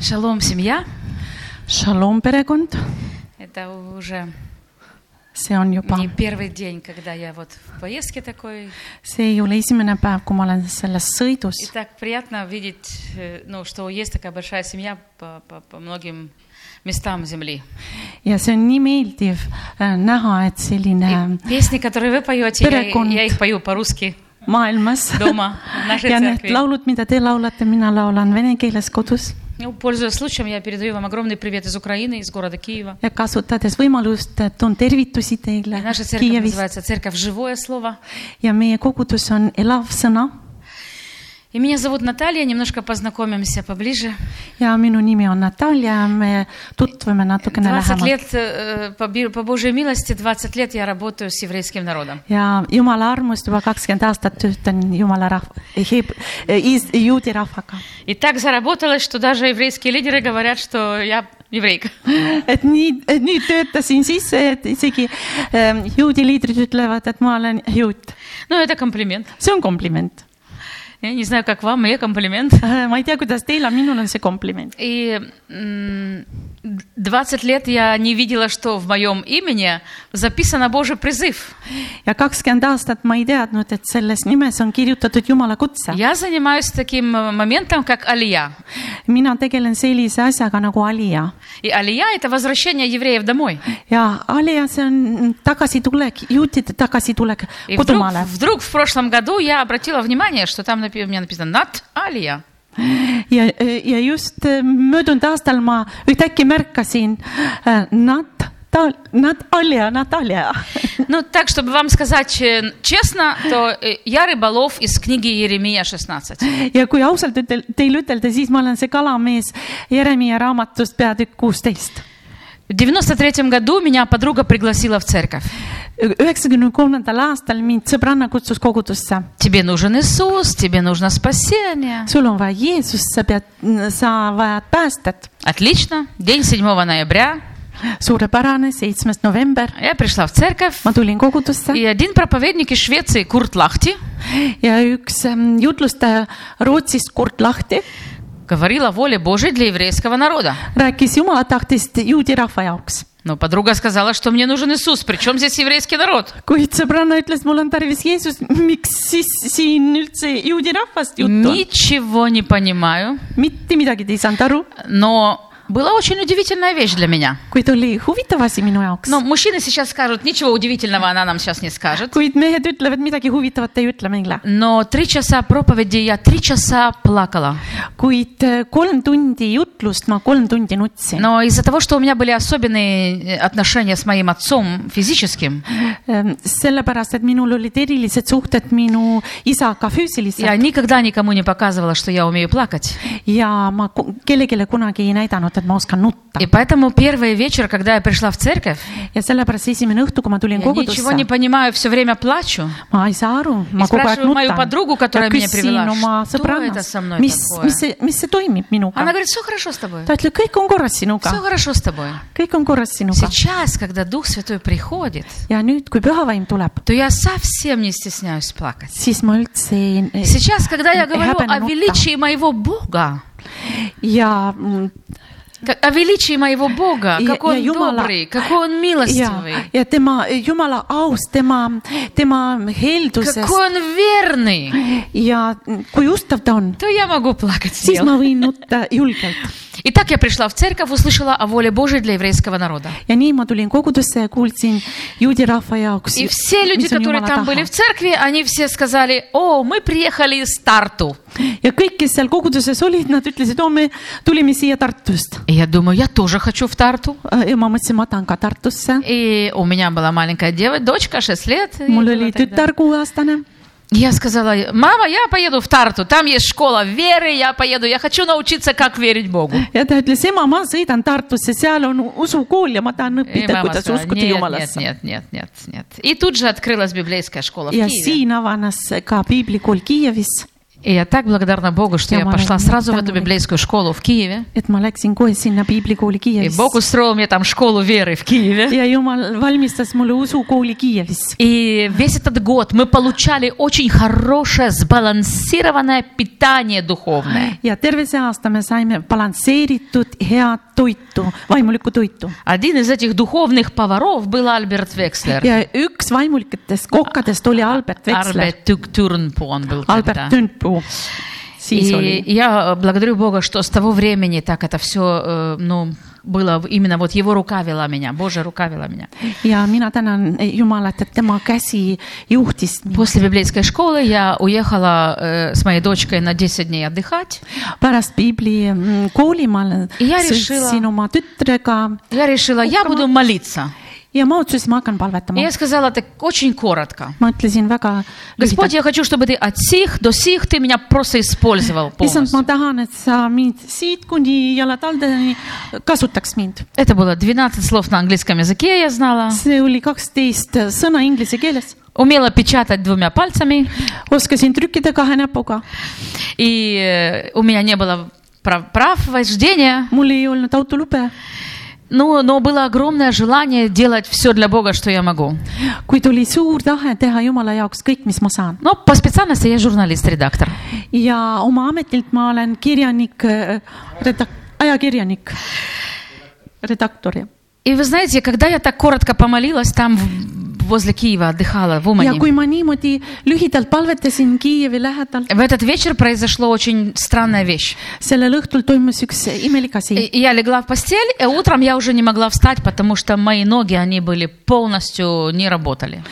Шалом, семья. Шалом perekond , Это уже see on juba не , первый день, когда я вот в поездке такой. see ei ole esimene päev , kui ma olen selles И sõidus так приятно видеть, э, ну, что есть такая большая семья по, по- по многим местам земли. ja see on nii meeldiv äh, näha , et И selline песни, которые вы поете, я, Переконт. я их пою по-русски. maailmas Дома, нашей ja need cerkvi. laulud , mida te laulate , mina laulan vene keeles kodus Ну, пользуясь случаем, я передаю вам огромный привет из Украины, из города Киева. ja kasutades võimalust , toon tervitusi И teile наша церковь Kiievist называется «Церковь Живое Слово». ja meie kogudus on elav sõna И меня зовут Наталья, немножко познакомимся поближе. ja minu nimi on Natalja , me tutvume 20 natukene lähemalt лет, э, по, би- по Божьей милости, 20 лет я работаю с еврейским народом. ja Jumala armust juba kakskümmend aastat töötan Jumala eh, rahva , juudi rahvaga . И так заработалось, что даже еврейские лидеры говорят, что я еврейка. et nii , nii töötasin sisse , et isegi ähm, juudi liidrid ütlevad , et ma olen juut . Ну, это комплимент. see on kompliment . Я не знаю, как вам, мне комплимент. ma ei tea , kuidas teil on , minul on see kompliment . И м, 20 лет я не видела, что в моем имени записано Божий призыв. ja kakskümmend aastat ma ei teadnud , et selles nimes on kirjutatud Jumala kutse . Я занимаюсь таким э, моментом, как алия. mina tegelen sellise asjaga nagu Alija И алия – это возвращение евреев домой. ja Alija , see on tagasitulek , juutide tagasitulek И вдруг, kodumaale . вдруг в прошлом году я обратила внимание, что там напи- у меня написано «Над Алия». ja , ja just äh, möödunud aastal ma ühtäkki märkasin äh, Nat- , Natalja , Natalja . Ну, так, чтобы вам сказать э, честно, то э, я рыболов из книги Еремия 16. ja kui ausalt ütel- , teile ütelda , siis ma olen see kalamees Jeremiah raamatust peatükk kuusteist . В 93 году меня подруга пригласила в церковь. üheksakümne kolmandal aastal mind sõbranna kutsus kogudusse . Тебе нужен Иисус, тебе нужно спасение. sul on vaja Jeesust , sa pead , sa vajad päästet . Отлично. День 7 ноября. suurepärane , seitsmes november , Я пришла в церковь. ma tulin kogudusse И один проповедник из Швеции, Курт Лахти, ja üks ähm, jutlustaja Rootsist , Kurt Lahti , говорил о воле Божьей для еврейского народа. rääkis Jumala tahtest juudi rahva jaoks Но подруга сказала, что мне нужен Иисус. Причем здесь еврейский народ? kuid sõbranna ütles , mul on tarvis Jeesus , miks siis siin üldse juudi rahvast juttu on ? Ничего не понимаю. mitte midagi te ei saanud aru , Но была очень удивительная вещь для меня. kuid oli huvitav asi minu jaoks Но мужчины сейчас скажут, ничего удивительного она нам сейчас не скажет. kuid mehed ütlevad midagi huvitavat ei ütle meile , Но три часа проповеди я три часа плакала. kuid äh, kolm tundi jutlust ma kolm tundi nutsin no. . Но из-за того, что у меня были особенные э, отношения с моим отцом физическим, Ähm, sellepärast , et minul olid erilised suhted minu isaga füüsiliselt ja, я никогда никому не показывала, что я умею плакать. ja ma ku- kellelegi kunagi ei näidanud , et ma oskan nutta И поэтому первый вечер, когда я пришla в церковь, ja sellepärast esimene õhtu , kui ma я tulin ничего не kogudusse , понимаю, все время плачу. ma ei saa aru , ma Ja kogu aeg spääšu maju podrugu, nutan . которая ja меня привела, küsin oma "Что это sõbrannast со mной , mis , такое?" mis see , mis see toimib minuga Она . говорит, все хорошо с тобой. ta ütleb , kõik on korras sinuga Все , хорошо с тобой. kõik on korras sinuga . Сейчас, когда Дух Святой приходит, ja nüüd , kui pühavaim tuleb , то я совсем не стесняюсь плакать. siis ma üldse ei Сейчас, когда я говорю Хабена о Нукта. величии моего Бога, ja mm, Как- О величии моего Бога, Я- какой я он Юмала. добрый, какой он ja милостивый, , ja tema , Jumala aus , tema , tema heeldusest какой он верный, ja kui ustav ta on , то я могу плакать siis смело. ma võin nutta julgelt . Итак, я пришла в церковь, услышала о воле Божьей для еврейского народа. ja nii ma tulin kogudusse ja kuulsin juudi rahva jaoks И все люди, mis on которые Jumala там были tahe в церкви, они все сказали, о, мы приехали из Тарту. ja kõik , kes seal koguduses olid , nad ütlesid , oo me tulime siia Tartust . И я думаю, я тоже хочу в Тарту. ja ma mõtlesin , ma tahan ka Tartusse . И у меня была маленькая девочка, дочка, 6 лет. ей mul было oli тогда. tütar kuueaastane Я сказала, мама, я поеду в Тарту, там есть школа веры, я поеду, я хочу научиться, как верить Богу. ja ta ütles , ema , ma sõidan Tartusse , seal on usukool ja ma tahan И õppida , мама kuidas сказала, uskuda нет, нет, Jumalasse . нет, нет, нет, нет. И тут же открылась библейская школа в ja Киеве. siin avanes ka piiblikool Kiievis И я так благодарна Богу, что Я я молю- пошла сразу в эту благодарна. библейскую школу в Киеве. et ma läksin kohe sinna И piiblikooli Kiievis Бог устроил мне там школу веры в Киеве. ja Jumal valmistas mulle usukooli Kiievis . И весь этот год мы получали очень хорошее, сбалансированное питание духовное. ja terve see aasta me saime balansseeritud head toitu , vaimulikku toitu . Один из этих духовных поваров был Альберт Векслер. ja üks vaimulikest kokkadest oli Albert Vetsler , Альберт Тюк- Тюрнпу он был тогда. Albert Tündpuu . siis И oli я э, благодарю Бога, что с того времени так это все, ну, было в- именно вот его рука вела меня, Божья рука вела меня. ja mina tänan Jumalat , et tema käsi juhtis mind . После библейской школы я уехала э, с моей дочкой на 10 дней отдыхать. pärast piiblikooli ma olen- Ja Rešila- sõitsin oma tütrega Я решила, я буду молиться. ja ma otsustasin , ma hakkan И palvetama я сказала так очень коротко. ma ütlesin väga Господь, lühidalt , я хочу, чтобы ты от сих до сих ты меня просто использовал issand , ma полностью. tahan , et sa mind siit kuni jalataldadeni kasutaks mind . Это было 12 слов на английском языке, я знала. see oli kaksteist sõna inglise keeles , Умела печатать двумя пальцами. oskasin trükkida kahe näpuga , И э, у меня не было прав, прав вождения. mul ei olnud autolube , Ну, но было огромное желание делать все для Бога, что я могу. kuid oli suur tahe teha Jumala jaoks kõik , mis ma saan . Но по специальности я журналист-редактор. ja oma ametilt ma olen kirjanik , redak- , ajakirjanik , redaktor jah . И вы знаете, когда я так коротко помолилась, там в- возле Киева отдыхала в ja Умане, kui ma niimoodi lühidalt palvetasin Kiievi lähedal , в этот вечер произошла очень странная вещь. sellel õhtul toimus üks imelik asi И- и Я легла в постель, и утром я уже не могла встать, потому что мои ноги, они были полностью не работали.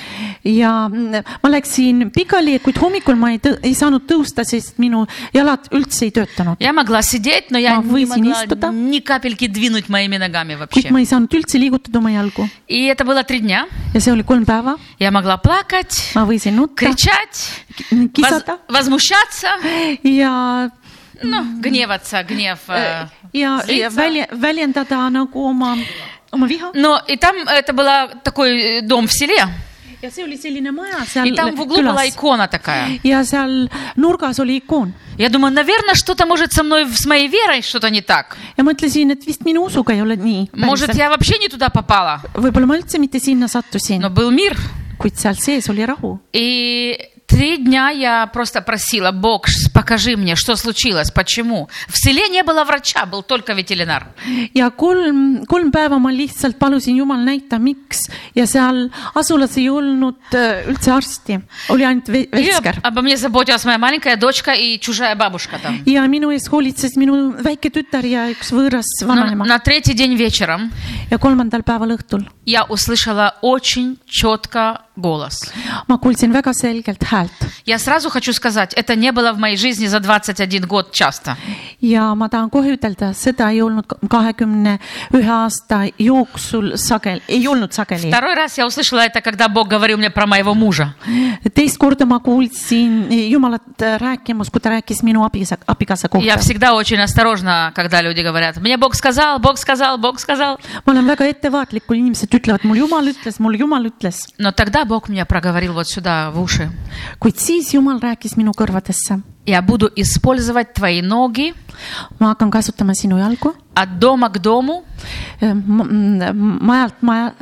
ja mm, ma läksin pikali , kuid hommikul ma ei, tõ- ei saanud tõusta , sest minu jalad üldse ei töötanud . Я могла сидеть, но я А вы не могла синистата? ни капельки двинуть моими ногами kuid вообще. ma ei saanud üldse liigutada oma jalgu И это было три дня. ja see oli kolm päeva , Я могла плакать, ma võisin nutta , кричать, воз- kisada возмущаться, ja , ну, гневаться, гнев. э, ja , ja злиться. välja , väljendada nagu oma , oma viha Но и там это был такой э, дом в селе, ja see oli selline maja и seal там в углу была külas икона такая. ja seal nurgas oli ikoon Я думаю, наверное, что-то может со мной, с моей верой что-то не так. ja mõtlesin , et vist minu usuga ei ole nii . Может, я вообще не туда попала. võib-olla ma üldse mitte sinna sattusin Но , был мир. kuid seal sees oli rahu И три дня я просто просила, Бог, ш- покажи мне, что случилось, почему. В селе не было врача, был только ветеринар. ja kolm , kolm päeva ma lihtsalt palusin Jumal näita , miks ja seal asulas ei olnud äh, üldse arsti , oli ainult ve- И об- vetsker . обо мне заботилась моя маленькая дочка и чужая bабушка там. ja minu ees hoolitses minu väike tütar ja üks võõras Но Ну, vanaema на третий день вечером ja kolmandal päeval õhtul я услышала очень четко голос. ma kuulsin väga selgelt häält Я сразу хочу сказать, это не было в моей жизни за 21 год часто. ja ma tahan kohe ütelda , seda ei olnud kahekümne ühe aasta jooksul sageli , ei olnud sageli . Второй раз я услышала это, когда Бог говорил мне про моего мужа. teist korda ma kuulsin Jumalat äh, rääkimas , kui ta rääkis minu abisa , abikaasa Я kohta . всегда очень осторожна, когда люди говорят, мне Бог сказал, Бог сказал, Бог сказал. ma olen väga ettevaatlik , kui inimesed ütlevad , mul Jumal ütles , mul Jumal ütles , Но тогда Бог меня проговорил вот сюда, в уши. kuid siis Jumal rääkis minu kõrvadesse . Я буду использовать твои ноги ma hakkan kasutama sinu jalgu от дома к дому, ma, , majalt maja ,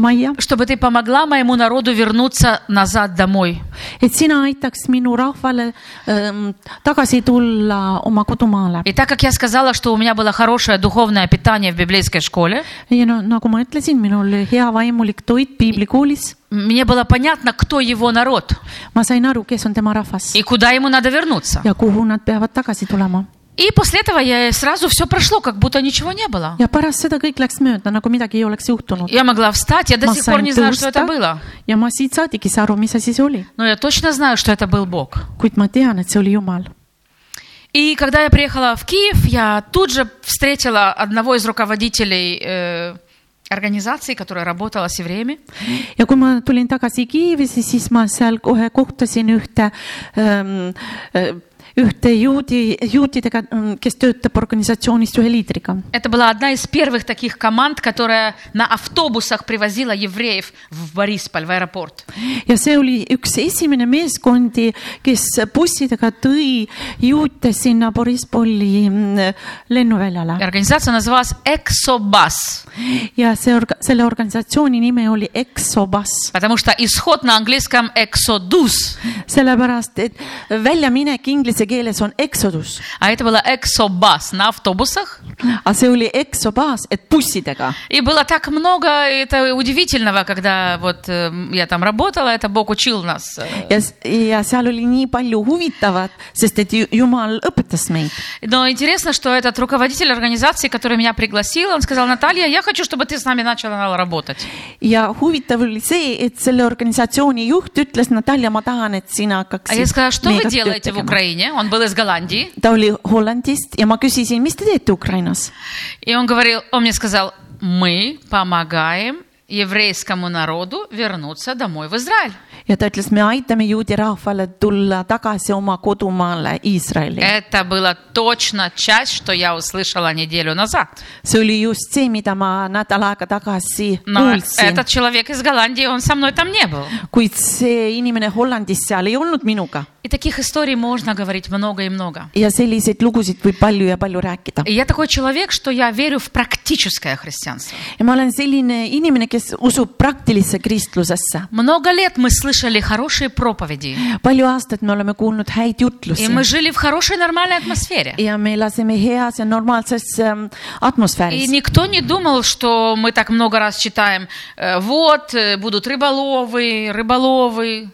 majja , чтобы ты помогла моему народу вернуться назад домой. et sina aitaks minu rahvale ähm, tagasi tulla oma kodumaale . И так как я сказала, что у меня было хорошее духовное питание в библейской школе, ja no nagu ma ütlesin , minul oli hea vaimulik toit piiblikoolis , мне было понятно, кто его народ ma sain aru , kes on tema rahvas и куда ему надо вернуться. ja kuhu nad peavad tagasi tulema . И после этого я сразу все прошло, как будто ничего не было. ja pärast seda kõik läks mööda , nagu midagi ei oleks juhtunud . Я могла встать, я до ma сих пор sain не знаю, что tõusta это было. ja ma siit saadik ei saa aru , mis asi see oli , Но я точно знаю, что это был Бог. kuid ma tean , et see oli Jumal . И когда я приехала в Киев, я тут же встретила одного из руководителей э, организации, которая работала с евреями. ja kui ma tulin tagasi Kiievisse , siis ma seal kohe kohtasin ühte ähm, äh, ühte juudi , juutidega , kes töötab organisatsioonist ühe liidriga . Это была одна из первых таких команд, которая на автобусах привозила евреев в Борисполь, в аэропорт. ja see oli üks esimene meeskondi , kes bussidega tõi juute sinna Borispoli mm, lennuväljale И Организация называлась «Эксобас», ja see orga, , selle organisatsiooni nimi oli Exobus , потому что исход на английском «Эксодус», sellepärast et väljaminek inglise keeles on Exodus , а это было «Эксобас» на автобусах. aga see oli Exobus , et bussidega И было так много это удивительного, когда вот э, я там работала, это Бог учил нас. э. ja , ja seal oli nii palju huvitavat , sest et ju- Jumal õpetas meid Но интересно, что этот руководитель организации, который меня пригласил, он сказал, Наталья, я хочу, чтобы ты с нами начала работать. ja huvitav oli see , et selle organisatsiooni juht ütles , Natalja , ma tahan , et sina А я hakkaksid сказала, что вы meiega tööd делаете в tegema. Украине? Он был из Голландии. ta oli Hollandist ja ma küsisin , mis te teete Ukrainas ? И он говорил, он мне сказал, мы помогаем еврейскому народу вернуться домой в Израиль. ja ta ütles , me aitame juudi rahvale tulla tagasi oma kodumaale Iisraeli . Это было точно часть, что я услышала неделю назад. see oli just see , mida ma nädal aega tagasi Но kuulsin , этот человек из Голландии, он со мной там не был. kuid see inimene Hollandis seal ei olnud minuga И таких историй можно говорить много и много. ja selliseid lugusid võib palju ja palju rääkida . И я такой человек, что я верю в практическое христианство. ja ma olen selline inimene , kes usub praktilisse kristlusesse . Много лет мы слышали хорошие проповеди. palju aastaid me oleme kuulnud häid jutlusi И мы жили в хорошей нормальной атмосфере. ja me elasime heas ja normaalses ähm, atmosfääris И никто не думал, что мы так много раз читаем, э, вот, э, будут рыболовы, рыболовы.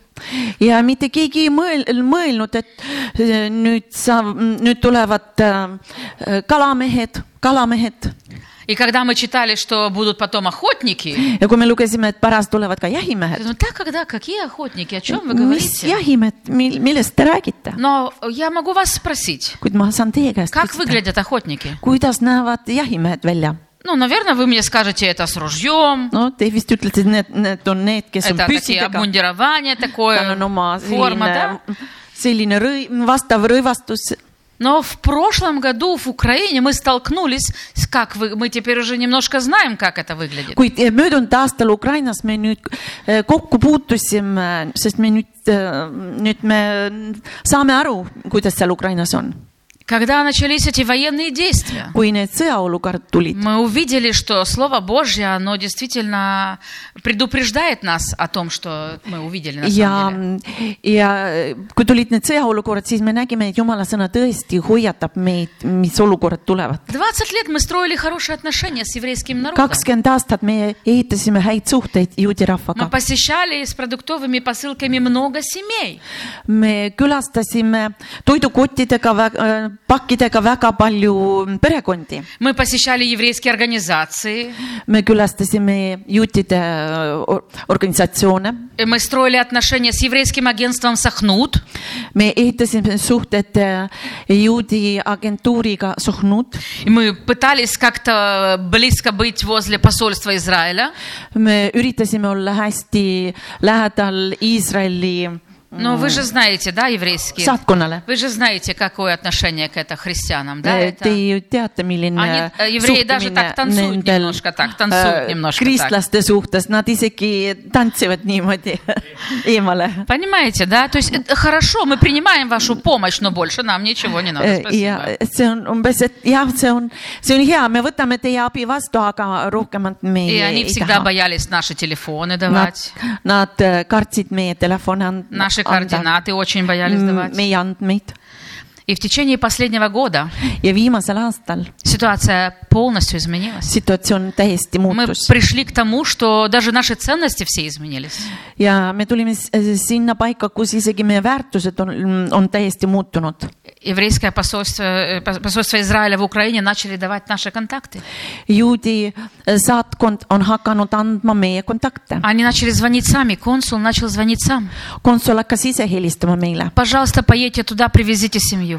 ja mitte keegi ei mõel- , mõelnud , et äh, nüüd sa , nüüd tulevad äh, kalamehed , kalamehed И когда мы читали, что будут потом охотники, ja kui me lugesime , et pärast tulevad ka я jahimehed . думаю, да, Ну, когда, какие охотники, о чем вы mis говорите? jahimehed , mil- , millest te räägite ? Но я могу вас спросить, kuid ma saan teie käest как выглядят охотники? kuidas näevad jahimehed välja ? Ну, наверное, вы мне скажете, это с ружьем, no te vist ütlete , et need , need on need , kes on это такие püssidega , обмундирование tal такое, on oma форма, да? selline , selline rõi- , vastav rõivastus Но в прошлом году в Украине мы столкнулись, с как вы, мы теперь уже немножко знаем, как это выглядит. kuid eh, möödunud aastal Ukrainas me nüüd eh, kokku puutusime , sest me nüüd , nüüd me saame aru , kuidas seal Ukrainas on , Когда начались эти военные действия, kui need sõjaolukorrad tulid . мы увидели, что Слово Божье, оно действительно предупреждает нас о том, что мы увидели на ja самом деле. , ja kui tulid need sõjaolukorrad , siis me nägime , et jumala sõna tõesti hoiatab meid , mis olukorrad tulevad . 20 лет мы строили хорошие отношения с еврейским народом. kakskümmend aastat me ehitasime häid suhteid juudi Мы rahvaga . посещали с продуктовыми посылками много семей. me külastasime toidukottidega , pakkidega väga palju perekondi Мы посещали еврейские организации. me külastasime juutide äh, or- organisatsioone , И Э, Мы строили отношения с еврейским агентством «Сахнут». me ehitasime suhted äh, juudi agentuuriga Sohnud , И Мы пытались как-то близко быть возле посольства Израиля, me üritasime olla hästi lähedal Iisraeli но вы же знаете, да, еврейские? saatkonnale . Вы же знаете, какое отношение к это христианам, да? Äh, Te Ah, Это... ju teate , milline Anid- äh, jevreid даже так танцуют немножко так, танцуют äh, немножко так. kristlaste suhtes , nad isegi tantsivad niimoodi eemale . Понимаете, да? То есть это хорошо, мы принимаем вашу помощь, но больше нам ничего не надо. Äh, ja Спасибо. see on umbes , et jah , see on , see on hea , me võtame teie abi vastu , aga rohkemat me И ei, они ei всегда taha . боялись наши телефоны Nad давать, , nad äh, kartsid meie telefone and- наши anda , координаты очень боялись давать. meie andmeid И в течение последнего года ja viimasel aastal ситуация полностью изменилась. situatsioon täiesti Мы muutus пришли к тому, что даже наши ценности все изменились. ja me tulime s- äh, sinna paika , kus isegi meie väärtused on , on täiesti muutunud . еврейское посольство, э, пос- посольство Израиля в Украине начали давать наши контакты. juudi äh, saatkond on hakanud andma meie kontakte , Они начали звонить сами, консул начал звонить сам. konsul hakkas ise helistama meile . Пожалуйста, поедьте туда, привезите семью.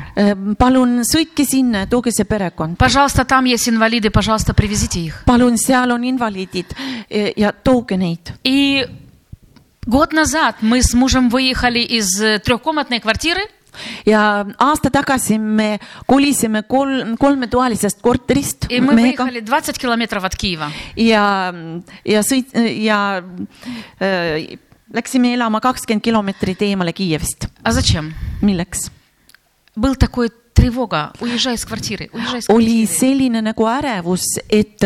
palun sõitke sinna ja tooge see perekond . Пожалуйста, там есть инвалиды, пожалуйста, привезите их. palun , seal on invaliidid eh, ja tooge neid . И год назад мы с мужем выехали из э, трехкомнатной квартиры ja aasta tagasi me kolisime kolm , kolmetoalisest korterist И мы выехали 20 километров от Киева. ja , ja sõit- ja äh, läksime elama kakskümmend kilomeetrit eemale Kiievist . А зачем? milleks ? Был такой тревога. Уезжай из квартиры. Уезжай из oli квартиры. selline nagu ärevus , et ,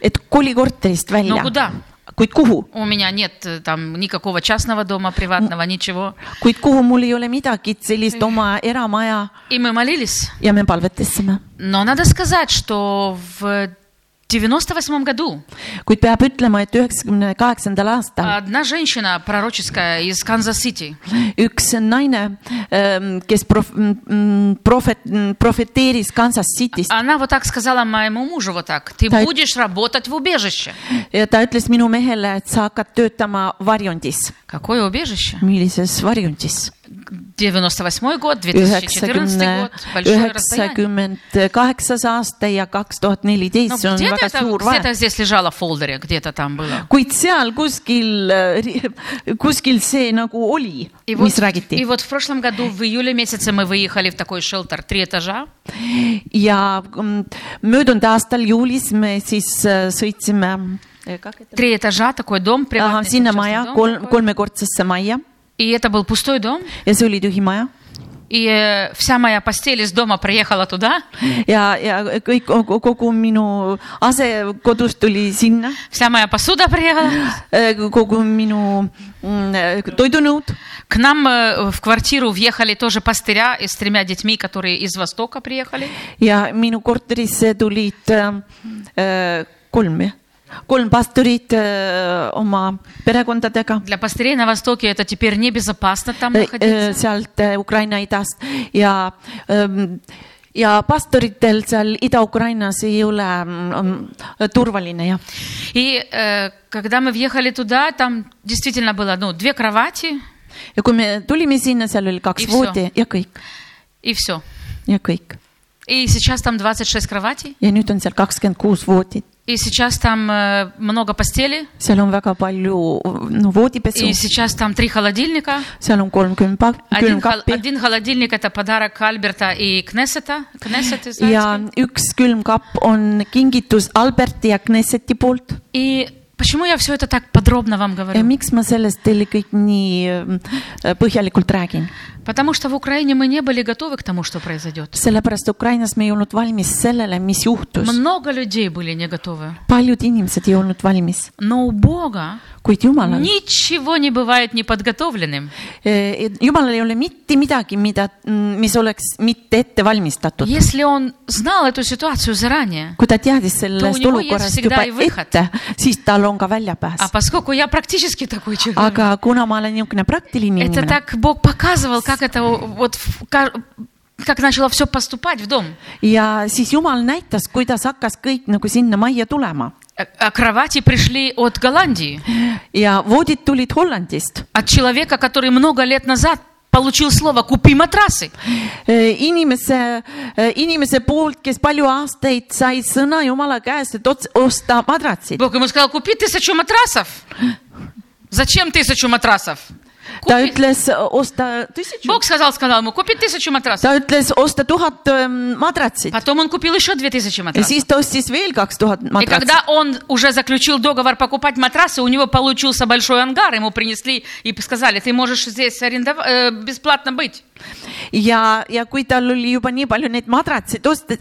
et koli korterist välja No kuda? . kuid kuhu ? Ну У меня нет э, там никакого частного дома, приватного, ничего. kuid kuhu mul ei ole midagi sellist oma eramaja И мы молились. ja me palvetasime . Но надо сказать, что в 98 году kuid peab ütlema , et üheksakümne kaheksandal aastal одна женщина пророческая из Канзас-Сити, üks naine , kes prof- , mm, prohvet- , prohveteeris mm, Kansas City'st , она вот так сказала моему мужу вот так, ты Да. будешь работать в убежище. ja ta ütles minu mehele , et sa hakkad töötama varjundis . Какое убежище? millises varjundis ? 98 год, 2014 üheksakümne год, , большое расстояние. üheksakümmend kaheksas aasta ja kaks tuhat Ну, neliteist , see on где-то, väga это- suur где-то vahe . здесь лежала в фолдере, где-то там было. kuid seal kuskil , kuskil see nagu oli , И вот, mis räägiti и вот в прошлом году, в июле месяце, мы выехали в такой шелтер, три этажа. ja mm, möödunud aastal juulis me siis äh, sõitsime eh, kak- Три этажа, такой дом, Ahah, приватный sinna частный maja , дом kolm , такой. kolmekordsesse majja И это был пустой дом. ja see oli tühi maja И э, вся моя постель из дома приехала туда, ja , ja kõik , kogu minu ase kodus tuli sinna , вся моя посуда приехала. kogu minu mm, toidunõud К нам э, в квартиру въехали тоже пастыря и с тремя детьми, которые из Востока приехали. ja minu korterisse tulid äh, kolm , kolm pastorit äh, oma perekondadega Для пастырей на Востоке это теперь небезопасно там äh, находиться. äh, sealt äh, Ukraina idast ja ähm, ja pastoritel seal Ida-Ukrainas ei ole mm, turvaline jah . И э, когда мы въехали туда, там действительно было ну, две кровати ja kui me tulime sinna , seal oli kaks Ifso. voodi ja kõik и все. ja kõik И сейчас там 26 кроватей, ja nüüd on seal kakskümmend kuus voodit , и сейчас там э, много постели, seal on väga palju mm, no voodipesu и , сейчас там три холодильника. seal on kolmkümmend Один, хол- külmkappi один холодильник это подарок Альберта и Кнессета. Кнессет, ты знаешь, ja кто? üks külmkapp on kingitus Alberti ja Knesseti poolt . И почему я все это так подробно вам говорю? miks ma sellest teile kõik nii äh, põhjalikult räägin ? Потому что в Украине мы не были готовы к тому, что произойдет. sellepärast Ukrainas me ei olnud valmis sellele , mis juhtus . Много людей были не готовы. paljud inimesed ei olnud valmis , Но у Бога kuid Jumalal , ничего не бывает неподготовленным. Äh, Jumalal ei ole mitte midagi , mida , mis oleks mitte ette valmistatud . Если он знал эту ситуацию zaранее, kui ta teadis To u sellest njemu olukorrast jest juba всегда и выход. ette , siis tal on ka а väljapääs . поскольку я практически такой человек, aga kuna ma olen niisugune praktiline это inimene так Бог показывал, как это вот в ка- как начало все поступать в дом. ja siis Jumal näitas , kuidas hakkas kõik nagu sinna majja tulema А- а Кровати пришли от Голландии, ja voodid tulid Hollandist . от человека, который много лет назад получил слово «купи матрасы». E, inimese , inimese poolt , kes palju aastaid sai sõna Jumala käest , et ots- osta madratsid . Бог ему сказал, купи тысячу матрасов. Зачем тысячу матрасов? Купи. ta ütles osta , Бог сказал, сказал ему, купи тысячу матрасов. ta ütles osta tuhat ähm, madratsit Потом он купил еще две тысячи ja матрасов. siis ta ostis veel kaks tuhat И madratsit . когда он уже заключил договор покупать матрасы, у него получился большой ангар, ему принесли и сказали, ты можешь здесь арендов- э, бесплатно быть. ja , ja kui tal oli juba nii palju neid madratseid ost- ,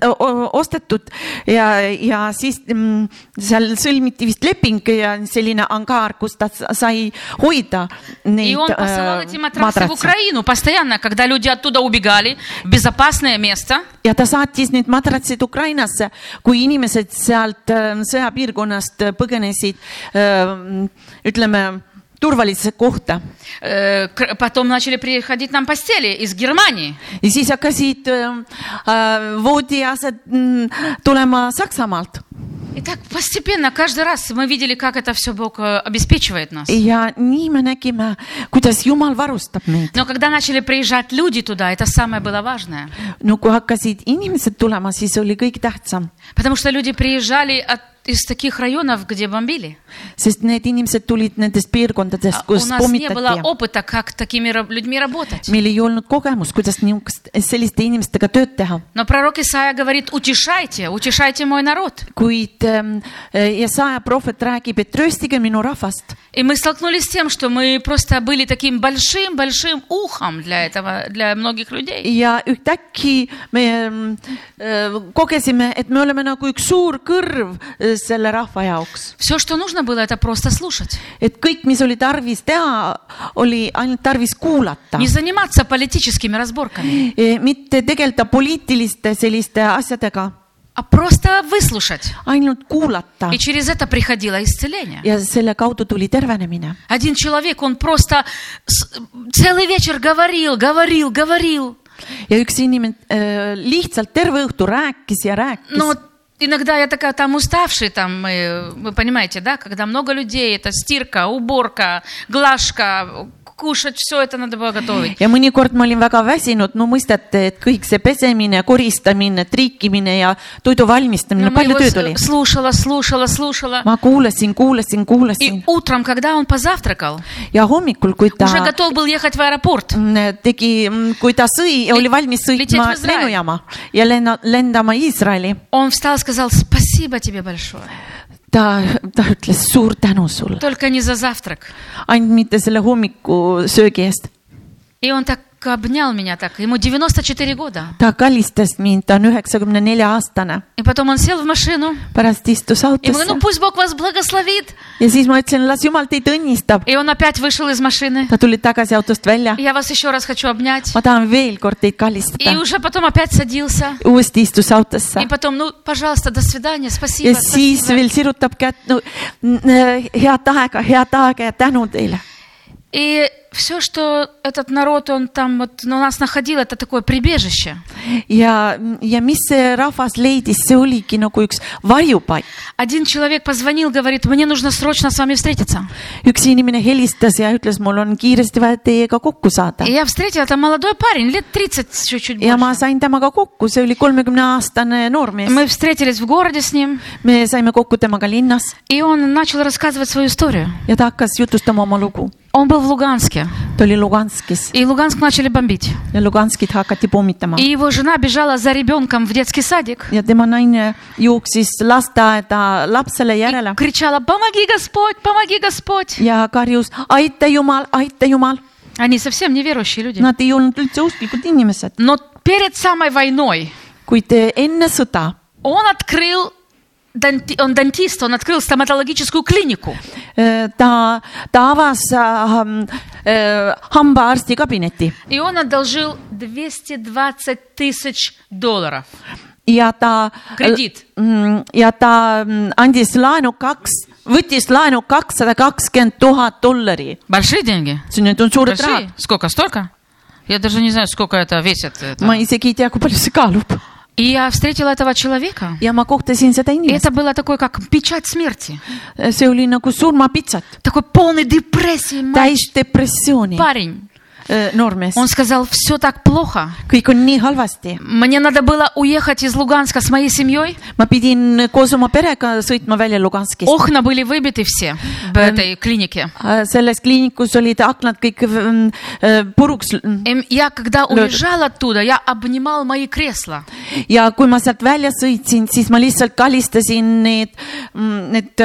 ostetud ja , ja siis mm, seal sõlmiti vist leping ja selline angaar , kus ta sa- sai hoida И neid он посылал äh, эти матрасы в madratseid . Украину постоянно, когда люди оттуда убегали, в безопасное место. ja ta saatis need madratsid Ukrainasse , kui inimesed sealt äh, sõjapiirkonnast äh, põgenesid äh, ütleme turvalisse kohta Э, к- Потом начали приходить нам постели из Германии. ja siis hakkasid äh, äh, voodiased mm, tulema Saksamaalt И так постепенно, каждый раз мы видели, как это все Бог э, обеспечивает нас. ja nii me nägime , kuidas Jumal varustab meid . Но когда начали приезжать люди туда, это самое было важное. Nagu no kui hakkasid inimesed tulema , siis oli kõige tähtsam , Потому что люди приезжали от из таких районов, где бомбили. sest need inimesed tulid nendest piirkondadest , А У kus нас не было pommitati . опыта, как такими ра- людьми работать. meil ei olnud kogemust , kuidas niisugust , selliste inimestega tööd teha . Но пророк Исаия говорит, утешайте, утешайте мой народ. kuid ähm, ja saja prohvet räägib , et tröstige minu rahvast И мы столкнулись с тем, что мы просто были таким большим-большим ухом для этого, для многих людей. ja ühtäkki me ähm, äh, kogesime , et me oleme nagu üks suur kõrv äh, selle rahva jaoks , Все, что нужно было, это просто слушать. et kõik , mis oli tarvis teha , oli ainult tarvis kuulata Не заниматься политическими разборками, Eh, mitte tegeleda poliitiliste selliste asjadega , а просто выслушать. ainult kuulata И через это приходило исцеление. ja selle kaudu tuli tervenemine . Один человек, он просто с- целый вечер говорил, говорил, говорил. ja üks inimene äh, lihtsalt terve õhtu rääkis ja rääkis Но иногда я такая там уставший, там, мы- вы понимаете, да, когда много людей, это стирка, уборка, глажка, кушать, все это надо было готовить. ja mõnikord ma olin väga väsinud , no mõistate , et kõik see pesemine , koristamine , triikimine ja toidu Но valmistamine , мы palju его tööd oli с- . слушала, слушала, слушала. ma kuulasin , kuulasin , kuulasin И утром, когда он позавтракал, ja hommikul , kui ta уже готов был ехать в аэропорт. mm, tegi , kui ta sõi ja oli valmis Лететь в sõitma Израиль. lennujaama ja lenna , lendama Iisraeli Он встал и сказал, спасибо тебе большое, ta , ta ütles suur tänu sulle , только не за завтрак. ainult mitte selle hommikusöögi eest . И он так обнял меня так. Ему 94 года. ta kallistas mind , ta on üheksakümne nelja aastane , И потом он сел в машину. pärast istus И мы, ну autosse пусть Бог вас благословит. ja siis ma ütlesin , las jumal teid õnnistab . И он опять вышел из машины. ta tuli tagasi autost välja , Я вас еще раз хочу обнять. ma tahan veel kord teid И kallistada . уже потом опять садился. uuesti istus autosse И потом, ну, пожалуйста, до свидания, спасибо. ja siis спасибо. veel sirutab kätt , no n- head aega , head aega ja tänu teile . И все, что этот народ, он там вот ну, нас находил, это такое прибежище. ja , ja mis see rahvas leidis , see oligi nagu üks varjupaik . Один человек позвонил, говорит, мне нужно срочно с вами встретиться. üks inimene helistas ja ütles , mul on kiiresti vaja teiega kokku saada И я встретила, это молодой парень, лет 30 чуть-чуть ja ma больше. sain temaga kokku , see oli kolmekümne aastane noormees . Мы встретились в городе с ним, me saime kokku temaga linnas и он начал рассказывать свою историю. ja ta hakkas jutustama oma lugu . Он был в Луганске, ta oli Luganskis и Луганск начали бомбить. ja Luganskit hakati pommitama И его жена бежала за ребенком в детский садик ja tema naine jooksis lasteaeda lapsele и järele кричала «Помоги, Господь! Помоги, Господь!» ja karjus , aita jumal , aita jumal . Они совсем неверующие люди. Nad ei olnud üldse usklikud inimesed , Но перед самой войной kuid eh, enne sõda он открыл, донти- он дантист, он открыл стоматологическую клинику. eh, ta , ta avas äh, äh, hambaarsti kabineti И он одолжил 220 тысяч долларов. ja ta Krediit. . ja ta mm, andis laenu kaks , võttis laenu kakssada kakskümmend tuhat dollari . Большие деньги? see nüüd on suured Большие? rahad . Сколько? Столько? Я даже не знаю, сколько это весит. это. ma isegi ei tea , kui palju see kaalub И я встретила этого человека. ja ma kohtasin seda И inimest это было такое, как печать смерти. et... , see oli nagu surmapitsat , Такой полный депрессии мать. täis depressiooni . парень. noormees , Он сказал, все так плохо. kõik on nii halvasti . Мне надо было уехать из Луганска с моей семьей. ma pidin koos oma perega sõitma välja Luganskist oh. . Окна были выбиты все в этой клинике. selles kliinikus olid aknad kõik mm, äh, puruks И Эм, я, когда Ну, это- уезжал оттуда, я обнимал мои кресла. ja kui ma sealt välja sõitsin , siis ma lihtsalt kalistasin need , need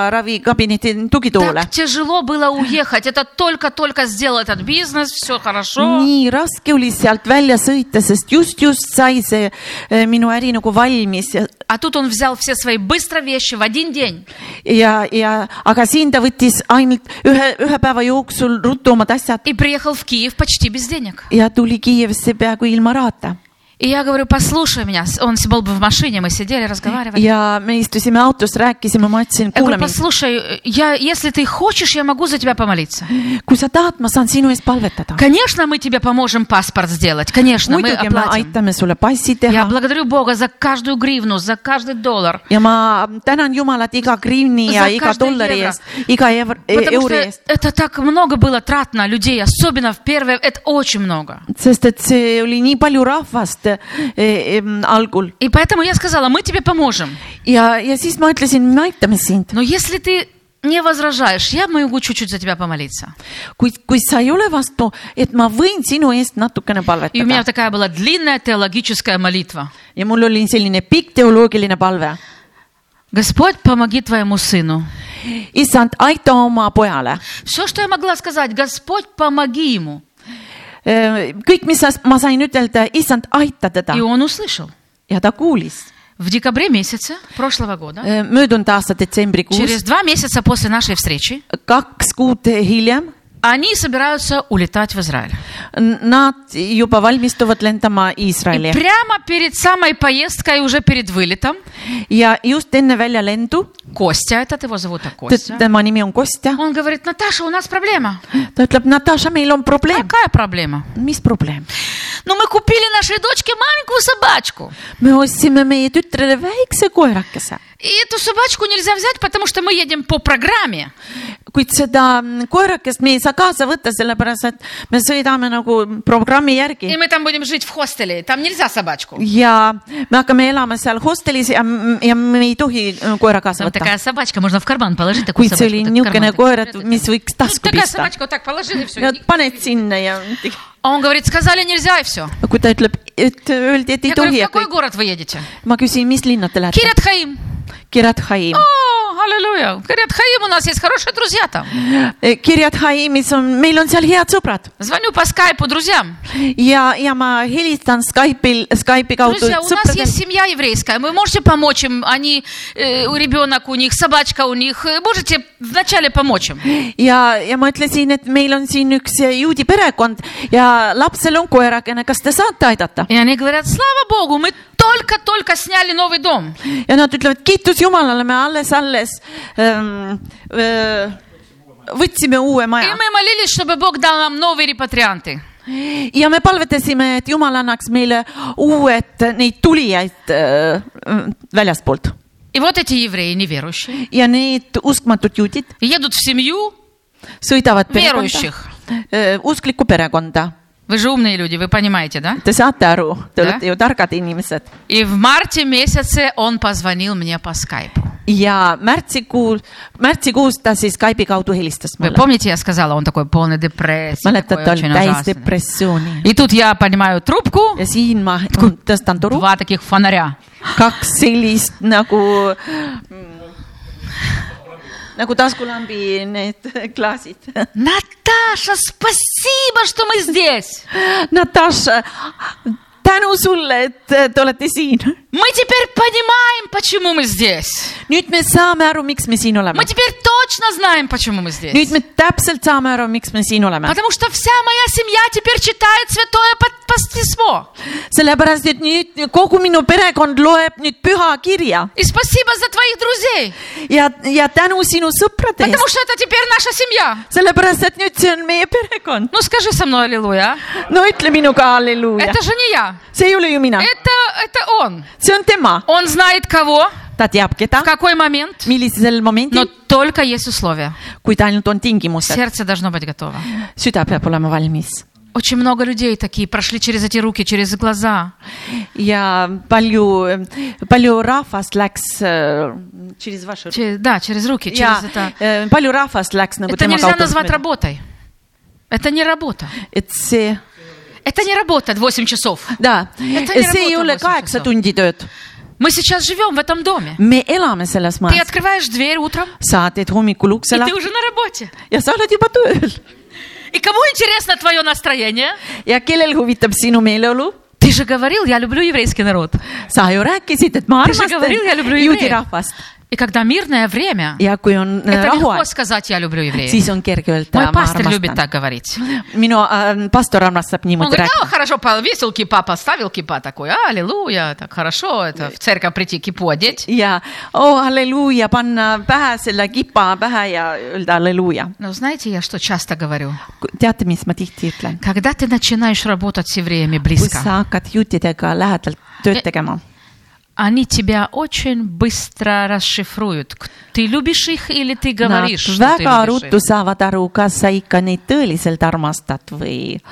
hambaravikabineti tugitoole Так . тяжело было уехать. Это только-только сделал этот бизнес, все хорошо. nii raske oli sealt välja sõita , sest just , just sai see eh, minu äri nagu valmis ja , А тут он взял все свои быстро вещи в один день. ja , ja , aga siin ta võttis ainult ühe , ühe päeva jooksul ruttu omad asjad И приехал в Киев почти без денег. ja tuli Kiievisse peaaegu ilma rahata . И я говорю, послушай меня. С- Он с- был бы в машине, мы сидели, разговаривали. ja me istusime autos , rääkisime , ma ütlesin , Я говорю, kuule mind , послушай, э, я, если ты хочешь, я могу за тебя помолиться. kui sa tahad , ma saan sinu eest palvetada . А. Конечно, мы тебе поможем паспорт сделать. Конечно, мы muidugi me оплатим. aitame sulle passi Я teha благодарю Бога за каждую гривну, за каждый доллар. ja ma tänan Jumalat iga griivni ja Za iga každý dollari euro. eest , iga ev- e- Потому euri что eest , это так много было трат на людей, особенно в первое, это очень много. sest et see oli nii palju rahvast eh, em, algul И поэтому я сказала, мы тебе поможем. ja , ja siis ma ütlesin , me aitame sind , Но если ты не возражаешь, я могу чуть-чуть за тебя помолиться. kuid kui sa ei ole vastu , et ma võin sinu eest natukene И у меня palvetada . такая была длинная теологическая молитва. ja mul oli selline pikk teoloogiline palve . Господь, помоги твоему сыну. issand , aita oma pojale . Все, что я могла сказать, Господь, помоги ему. Eh, kõik , mis sa- ma sain ütelda , issand , aita teda И он услышал. ja ta kuulis . В декабре месяце прошлого года, möödunud aasta detsembrikuus через , два месяца после нашей встречи, kaks kuud hiljem , они собираются улетать в Израиль. nad juba valmistuvad lendama И Iisraeli прямо перед самой поездкой, уже перед вылетом, ja just enne väljalendu , Костя, этот его зовут так, Костя, tema nimi on Kostja , он говорит, Наташа, у нас проблема. ta ütleb , Natasha , meil on probleem . Какая проблема? mis probleem ? Ну, мы купили нашей дочке маленькую собачку. me ostsime meie tütrele väikse koerakese , И эту собачку нельзя взять, потому что мы едем по программе. kuid seda mm, koerakest me ei saa kaasa võtta , sellepärast et me sõidame nagu programmi И järgi мы там будем жить в хостеле, там нельзя собачку. ja me hakkame elama seal hostelis ja , ja me ei tohi mm, koera kaasa Вот võtta такая . собачка, можно в карман положить такую kuid see oli собачку. так в niisugune карман. koer , et mis võiks tasku Такая pista . собачка, вот так положили, все. ja paned sinna ja А он говорит, сказали нельзя, и все. kui ta ütleb , et öeldi , et ei Я говорю, tohi в ja какой kõik . город вы едете? ma küsin , mis linna te lähete ? Кирят Хаим. Kirat Haim . Oh! О, аллилуйя. Кирят Хаим у нас есть хорошие друзья там. Kirat Eh, Haimis on , meil on seal head sõbrad Звоню по скайпу друзьям. ja , ja ma helistan Skype'il , Skype'i kaudu Друзья, у нас sõpradele есть . семья еврейская. Вы можете помочь им? Они, э, у ребенок у них, собачка у них. Э, Можете вначале помочь им? ja , ja ma ütlesin , et meil on siin üks eh, juudi perekond ja lapsel on koerakene , kas te saate aidata ? И они говорят, слава Богу, мы только-только сняли новый дом. ja nad ütlevad , kiitus Jumalale , me alles , alles ähm, äh, võtsime uue И maja мы молились, чтобы Бог дал нам новые репатрианты. ja me palvetasime , et Jumal annaks meile uued neid tulijaid äh, väljaspoolt И вот эти евреи неверующие ja need uskmatud juudid едут в семью. sõidavad perekonda Äh, Veeruših. , usklikku perekonda Вы же умные люди, вы понимаете, да? Te saate aru , te Jah. olete ju targad inimesed И в марте месяце он позвонил мне по скайпу. ja märtsikuul , märtsikuus ta siis Skype'i kaudu helistas Вы mulle . помните, я сказала, он такой полный депрессии. mäletad , такой ta очень oli täis ужасный. depressiooni И тут я поднимаю трубку, ja siin ma tõstan toru , два таких фонаря. kaks sellist nagu , nagu taskulambi need klaasid . Наташа, спасибо, что мы здесь. Natasha , tänu sulle , et te olete siin . Мы теперь понимаем, почему мы здесь. nüüd me saame aru , miks me siin Мы oleme . теперь точно знаем, почему мы здесь. nüüd me täpselt saame aru , miks me siin oleme . Потому что вся моя семья теперь читает Святое Пат- Пас- Письмо. sellepärast , et nüüd kogu minu perekond loeb nüüd püha kirja И спасибо за твоих друзей, ja , ja tänu sinu sõprade потому eest , что это теперь наша семья. sellepärast et nüüd see on meie perekond . Ну скажи со мной, аллилуйя. no ütle minuga halleluuja Это , же не я, see ei ole ju mina , это, это он. see on tema , Он знает кого, ta teab в keda , какой момент, millisel но momendil , только есть условия. kuid ainult on tingimused , Сердце должно быть готово. süda peab olema valmis Очень много людей такие прошли через эти руки, через глаза. ja palju , palju rahvast läks äh, через вашу- Че- да, через руки, через ja это. äh, palju rahvast läks nagu Это tema нельзя назвать kaudu , работой. Это не работа. et see , Это не работа 8 часов. Это ei see ei работа ole muuseas, kaheksa jah. tundi tööd Мы сейчас живем в этом доме. me elame selles Ты majas , открываешь дверь утром, sa teed hommikul и ты ukse lahti уже на работе. ja sa oled juba tööl И кому интересно твое настроение? ja kellel huvitab sinu meeleolu ? Ты же говорил, я люблю еврейский народ. sa ju rääkisid , et ma Ты же armastan говорил, я люблю juudi евреев. rahvast И когда мирное время, ja kui on äh, это легко rahuaeg , сказать, я люблю евреев. siis on kerge öelda Мой , ma пастор любит armastan . так говорить. minu äh, pastor armastab Он niimoodi говорит, rääkida а, хорошо, пал- весел кипа, поставил кипа такой, а, аллилуйя, так хорошо, это в церковь прийти кипу одеть. ja oo oh, halleluuja , panna pähe selle kipa pähe ja öelda halleluuja . Но знаете, я что часто говорю? teate , mis ma tihti ütlen ? Когда ты начинаешь работать с евреями kui близко, sa hakkad juutidega lähedalt tööd tegema , они тебя очень быстро расшифруют. К- Ты любишь их или ты nad говоришь, что ты väga любишь ruttu их? saavad aru , kas sa ikka neid tõeliselt armastad või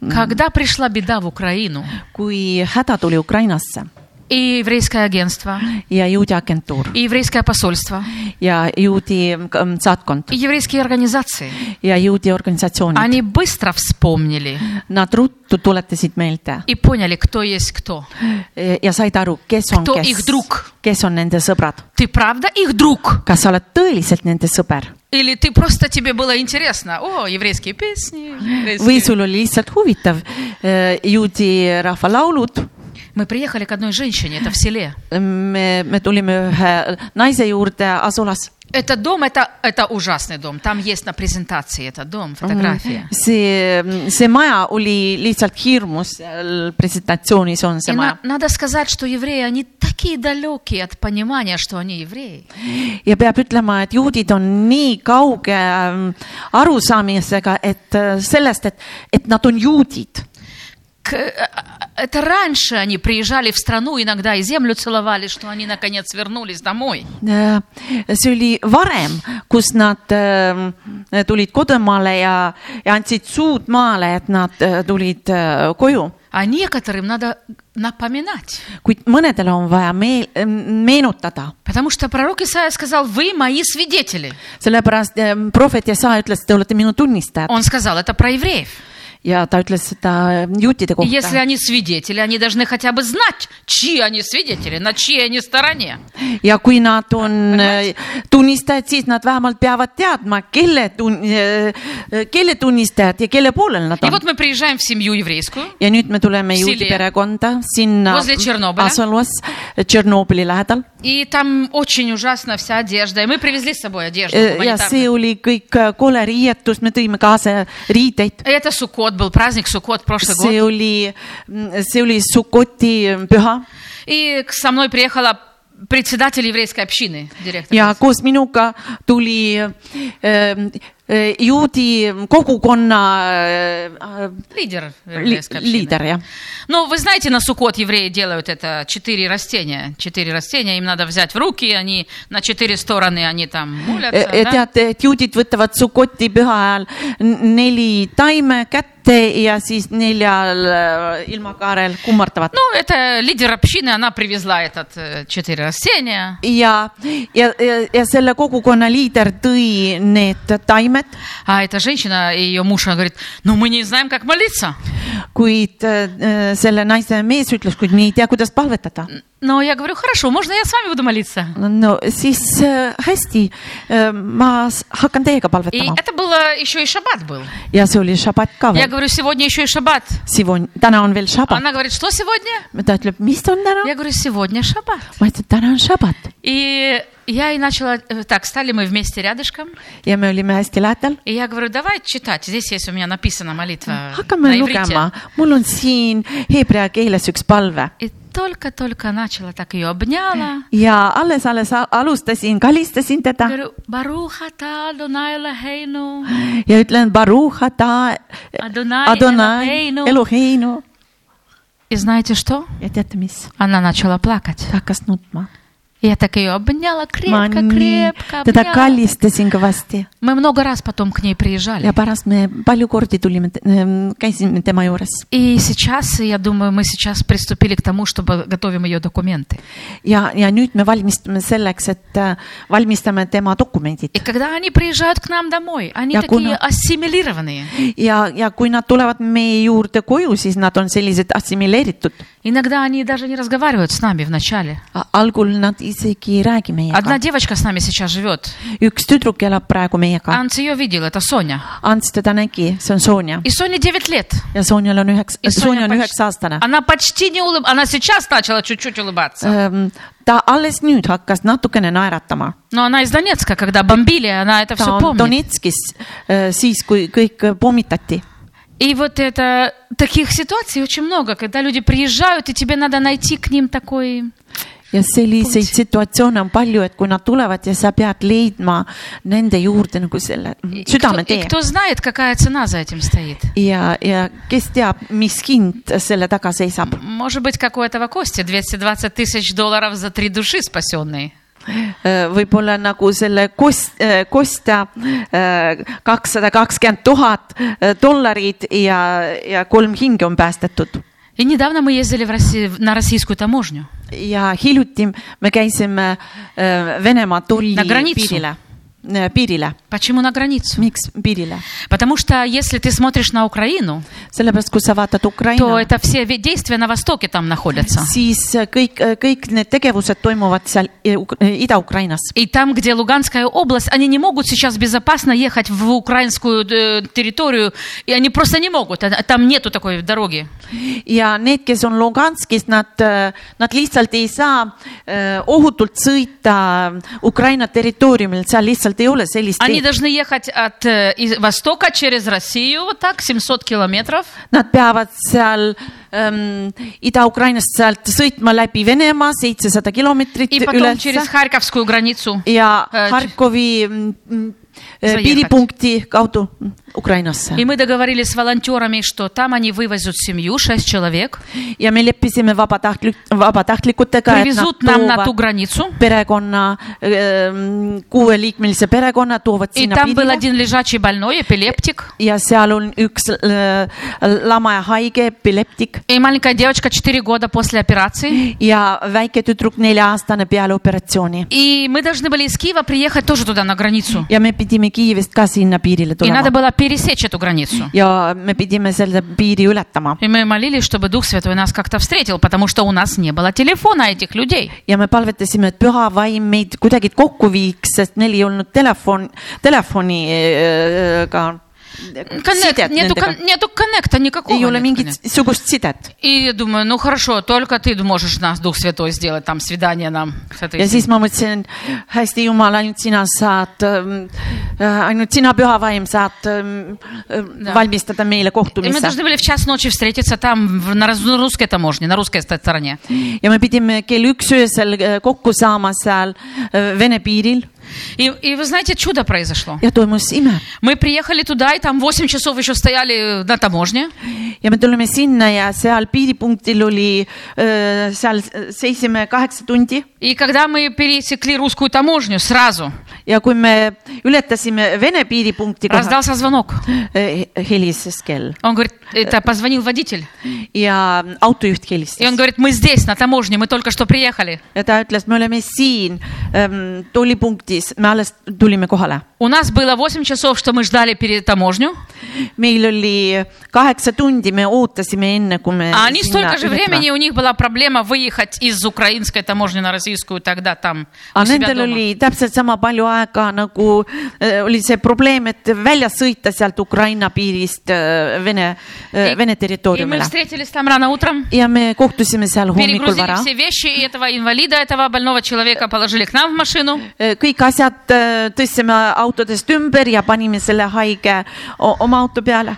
Когда пришла беда в Украину, kui häda tuli Ukrainasse , и еврейское агентство, ja juudi agentuur и еврейское посольство, ja juudi mm, saatkond и еврейские организации. ja juudi organisatsioonid . Они bыстро vспомнили Nad ruttu tuletasid meelde и поняли, кто есть кто. ja said aru , kes on Кто их kes друг? , kes on nende sõbrad . Ты правда их друг? kas sa oled tõeliselt nende sõber Или ты просто тебе было интересно? О, еврейские песни. еврейские- või sul oli lihtsalt huvitav eh, juudi rahvalaulud Мы приехали к одной женщине, это в селе. me , me tulime ühe naise juurde asulas . Это дом, это, это ужасный дом. Там есть на презентации этот дom фотография. Mm. see , see maja oli lihtsalt hirmus , seal presentatsioonis on И see maja на- надо сказать, что евреи, они такие далекие от понимания, что они евреи. ja peab ütlema , et juudid on nii kauge ähm, arusaamisega , et äh, sellest , et , et nad on juudid . К- э, Это раньше они приезжали в страну, иногда и землю целовали, что они наконец вернулись домой. Äh, see oli varem , kus nad ähm, tulid kodumaale ja , ja andsid suud maale , et nad äh, tulid äh, koju А некоторым надо напоминать. kuid mõnedele on vaja meel , meenutada Потому что пророк Исаия сказал, вы мои свидетели. sellepärast ehm, prohvet Jesa ütles , te olete minu tunnistajad Он сказал это про евреев. ja ta ütles seda äh, juutide И Если kohta они свидетели, они должны хотя бы знать, чьи они свидетели, на чьей они стороне. ja kui nad on eh, tunnistajad , siis nad vähemalt peavad teadma , kelle tun- , kelle tunnistajad ja kelle poolel nad И on вот мы приезжаем в семью еврейскую. ja nüüd me tuleme Sile- juudi perekonda sinna Возле Tšernobõla. asulas Tšernobõli lähedal И там очень ужасно вся одежда. И мы привезли с собой одежду. Eh, ja see гуманитарную. oli kõik eh, kole riietus , me tõime kaasa riideid . Это Сукот был, праздник Сукот прошлый see год. oli , see oli Sukoti mm, püha И к- со мной приехала председатель еврейской общины, директор. ja koos minuga tuli ähm, äh, juudi kogukonna äh, Лидер li- еврейской общины. liider , jah . Ну, вы знаете, на Сукот евреи делают это четыре растения. Четыре растения им надо взять в руки, они на четыре стороны, они там мулятся. да? Eh, teate , et juudid võtavad Sukoti püha ajal n- neli taime kätte ja siis neljal äh, ilmakaarel kummardavad . Ну, это лидер общины, она привезла этот э, четыре растения. ja , ja , ja selle kogukonna liider tõi need taimed , А эта женщина и ее муж, она говорит, ну, мы не знаем, как молиться. kuid äh, selle naise mees ütles , kuid me ei tea , kuidas palvetada . Но я говорю, хорошо, можно я с вами буду молиться? no siis äh, hästi , ma s- hakkan teiega И palvetama это было, еще и шаббат был. ja see oli šabat ka Я veel . говорю, сегодня еще и шаббат. Sivon , täna on veel šabat . Она говорит, что сегодня? ta ütleb , mis on täna ? Я говорю, сегодня шаббат. ma ütlesin , täna on šabat И я и начала, э, так, стали мы вместе рядышком. ja me olime hästi lähedal . И я говорю, давай читать. Здесь есть у меня написана молитва Äh, hakkame на иврите. lugema , mul on siin heebrea keeles üks palve И только-только начала, так ее обняла. ja alles , alles a- alustasin , kalistasin teda Говорю, Баруха та Адонай Элохейну, ja ütlen Baruha ta Adonai Adonai Eloheinu. Eloheinu И знаете что? ja teate , mis ? Она начала плакать. ta hakkas nutma . Я так ее обняла ma крепко, nii крепко teda обняла. kallistasin kõvasti Мы много раз потом к ней приезжали. ja pärast me palju kordi tulime , käisime tema juures И сейчас, я думаю, мы сейчас приступили к тому, чтобы готовим ее документы. ja , ja nüüd me valmistume selleks , et äh, valmistame tema dokumendid И когда они приезжают к нам домой, они Я такие куна- ассимилированные. ja , ja kui nad tulevad meie juurde koju , siis nad on sellised assimileeritud . Иногда они даже не разговаривают с нами вначале. algul nad isegi ei räägi Одна meiega . девочка с нами сейчас живет. üks tüdruk elab praegu meiega , Анц ее видел, это Соня. Ants teda nägi , see on Sonja И Соне 9 лет. ja Sonjal on üheks , И Sonja on поч- üheksa aastane . Она почти не улыб... Она сейчас начала чуть-чуть улыбаться. Ehm, ta alles nüüd hakkas natukene naeratama . Но она из Донецка, когда бомбили, она это ta все on помнит. Donetskis äh, siis , kui kõik äh, pommitati И вот это... Таких ситуаций очень много, когда люди приезжают, и тебе надо найти к ним такой... ja selliseid situatsioone on palju , et kui nad tulevad ja sa pead leidma nende juurde nagu selle И кто, и südametee кто знает, какая цена за этим стоит. ja , ja kes teab , mis hind selle taga seisab . Может быть, как у этого Кости, 220 tысяч долларов за три души спасенные. võib-olla nagu selle kost- , kostja kakssada kakskümmend tuhat äh, dollarit ja , ja kolm hinge on päästetud . И недавно мы ездили в Росси- на российскую таможню. ja hiljuti me käisime äh, Venemaa tolli Na granitsu. piirile , piirile , Почему на границу? miks piirile , Потому что если ты смотришь на Украину, sellepärast kui sa vaatad то Ukraina , это все ви- действия на Востоке там находятся. siis äh, kõik , kõik need tegevused toimuvad seal äh, Uk- äh, Ida-Ukrainas . И там, где Луганская область, они не могут сейчас безопасно ехать в украинскую э, территорию, и они просто не могут, а- там нету такой дороги. ja need , kes on Luganskis , nad , nad lihtsalt ei saa äh, ohutult sõita äh, Ukraina territooriumil , seal lihtsalt ei ole sellist Они teed . должны ехать от э, из- востока через Россию, вот так, 700 километров, Nad peavad seal ähm, Ida-Ukrainast sealt sõitma läbi Venemaa seitsesada kilomeetrit и потом через üles Харьковскую границу. ja äh, Harkovi mm, mm, äh, Sõidetakse. piiripunkti kaudu mm, Ukrainasse И мы договорились с волонтерами, что там они вывезут семью, 6 человек, ja me leppisime vabatahtlik , vabatahtlikutega , et nad привезут нам на ту toovad границу. perekonna ähm, , kuueliikmelise perekonna toovad И sinna там был piirile один лежачий больной, эпилептик. ja seal on üks äh, lama ja haige epileptik И маленькая девочка 4 года после операции. ja väike tüdruk , nelja-aastane peale operatsiooni И мы должны были из Киева приехать тоже туда, на границу. ja me pidime Kiievist ka sinna piirile И надо tulema было пересечь эту границу. ja me pidime selle piiri ületama И мы молились, чтобы Дух Святой нас как-то встретил, потому что у нас не было телефона этих людей. ja me palvetasime , et püha vaim meid kuidagi kokku viiks , sest neil ei olnud telefon , äh, telefoniga Коннект, нету, кон- нету коннекта никакого. ei ole нет коннекта. mingisugust sidet И я думаю, ну хорошо, только ты можешь нас, Дух Святой, сделать там свидание нам. с этой ja семьей. siis ma mõtlesin , hästi jumal , ainult sina saad , ainult sina , püha vaim , saad ähm, äh, valmistada meile И мы kohtumise должны были в час ночи встретиться там, в- на раз- на русской таможне, на русской ста- стороне. ja me pidime kell üks öösel äh, kokku saama seal äh, Vene piiril И, и вы знаете, чудо произошло. ja toimus ime Мы приехали туда, и там 8 часов еще стояли э, на таможне. ja me tulime sinna ja seal piiripunktil oli , seal seisime kaheksa tundi И когда мы пересекли русскую таможню сразу, ja kui me ületasime Vene piiripunkti koha , раздался звонок. helises kell Он говорит, это позвонил водитель. ja autojuht И он helistas говорит, мы здесь, на таможне, мы только что приехали. ja ta ütles , me oleme siin ähm, tollipunktis , me alles tulime kohale . У нас было 8 часов, что мы ждали перед таможню, meil oli kaheksa tundi , me ootasime enne , kui me а они sinna столько же ületame. времени, у них была проблема выехать из украинской таможни на российскую тогда там, у aga себя nendel дома. oli täpselt sama palju aega nagu äh, oli see probleem , et välja sõita sealt Ukraina piirist äh, Vene äh, , И Vene мы territooriumile . встретились там рано утром, ja me kohtusime seal hommikul перегрузили vara . все вещи, и этого инвалида, этого больного человека положили к нам в машину. kõik asjad äh, tõstsime autodest ümber ja panime selle haige o- oma auto peale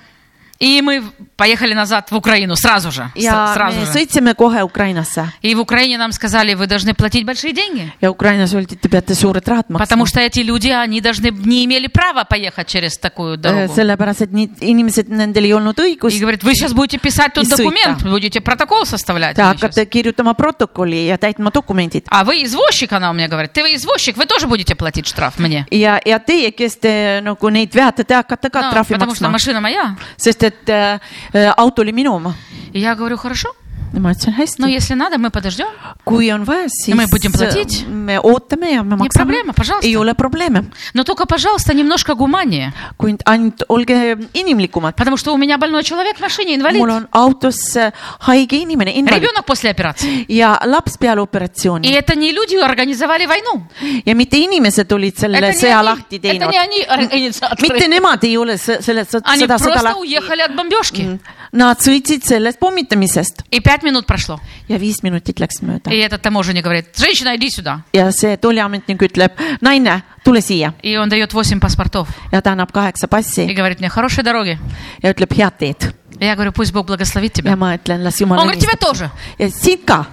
И мы поехали назад в Украину сразу же. с- ja сразу me же. sõitsime kohe Ukrainasse И в Украине нам сказали, вы должны платить большие деньги. ja Ukrainas öeldi , et te peate suured rahad Потому maksma . что эти люди, они должны, не имели права поехать через Э, такую дорогу. Äh, sellepärast , et need inimesed , нендel ei olnud И õigust . говорит, вы сейчас будете писать тут И сыта. документ, будете протокол составлять. Te мне щас». hakkate kirjutama protokolli ja täitma dokumendid . А вы извозчик, она у меня говорит, ты извозчик, вы тоже будете платить штраф мне. ja , ja teie , kes te nagu neid veate , te hakkate ka Ну, trahvi потому что maksma , машина моя. sest et äh, äh, auto oli minu oma . И я говорю, хорошо, ma ütlesin но hästi , если надо, мы подождем. kui on vaja , siis me budem platit. äh, me ootame ja me maksame probleeme, pažalosta. ei ole probleeme , Но только, пожалуйста, немножко гуманнее. kuid ainult olge inimlikumad . Потому что у меня больной человек в машине, mul инвалид. on autos äh, haige inimene , invaliid Ребенок после операции. ja laps peale И operatsiooni это не люди организовали войну. ja mitte inimesed olid selle Это не sõja они- lahti это teinud не . они организаторы. mitte nemad ei ole sõ- selle sõ- Они seda sõda просто lahti . уехали от бомбежки. Nad sõitsid sellest pommitamisest И пять минут прошло. ja viis minutit läks mööda И этот таможенник говорит, женщина, иди сюда. ja see tolliametnik ütleb , naine , tule siia И он дает 8 паспортов. ja ta annab kaheksa И passi говорит мне, хорошей дороги. ja ütleb head teed . Я говорю, пусть Бог благословит тебя. ja ma ütlen , las Он jumal говорит, тебя õnnistab . тоже. ja sind ka .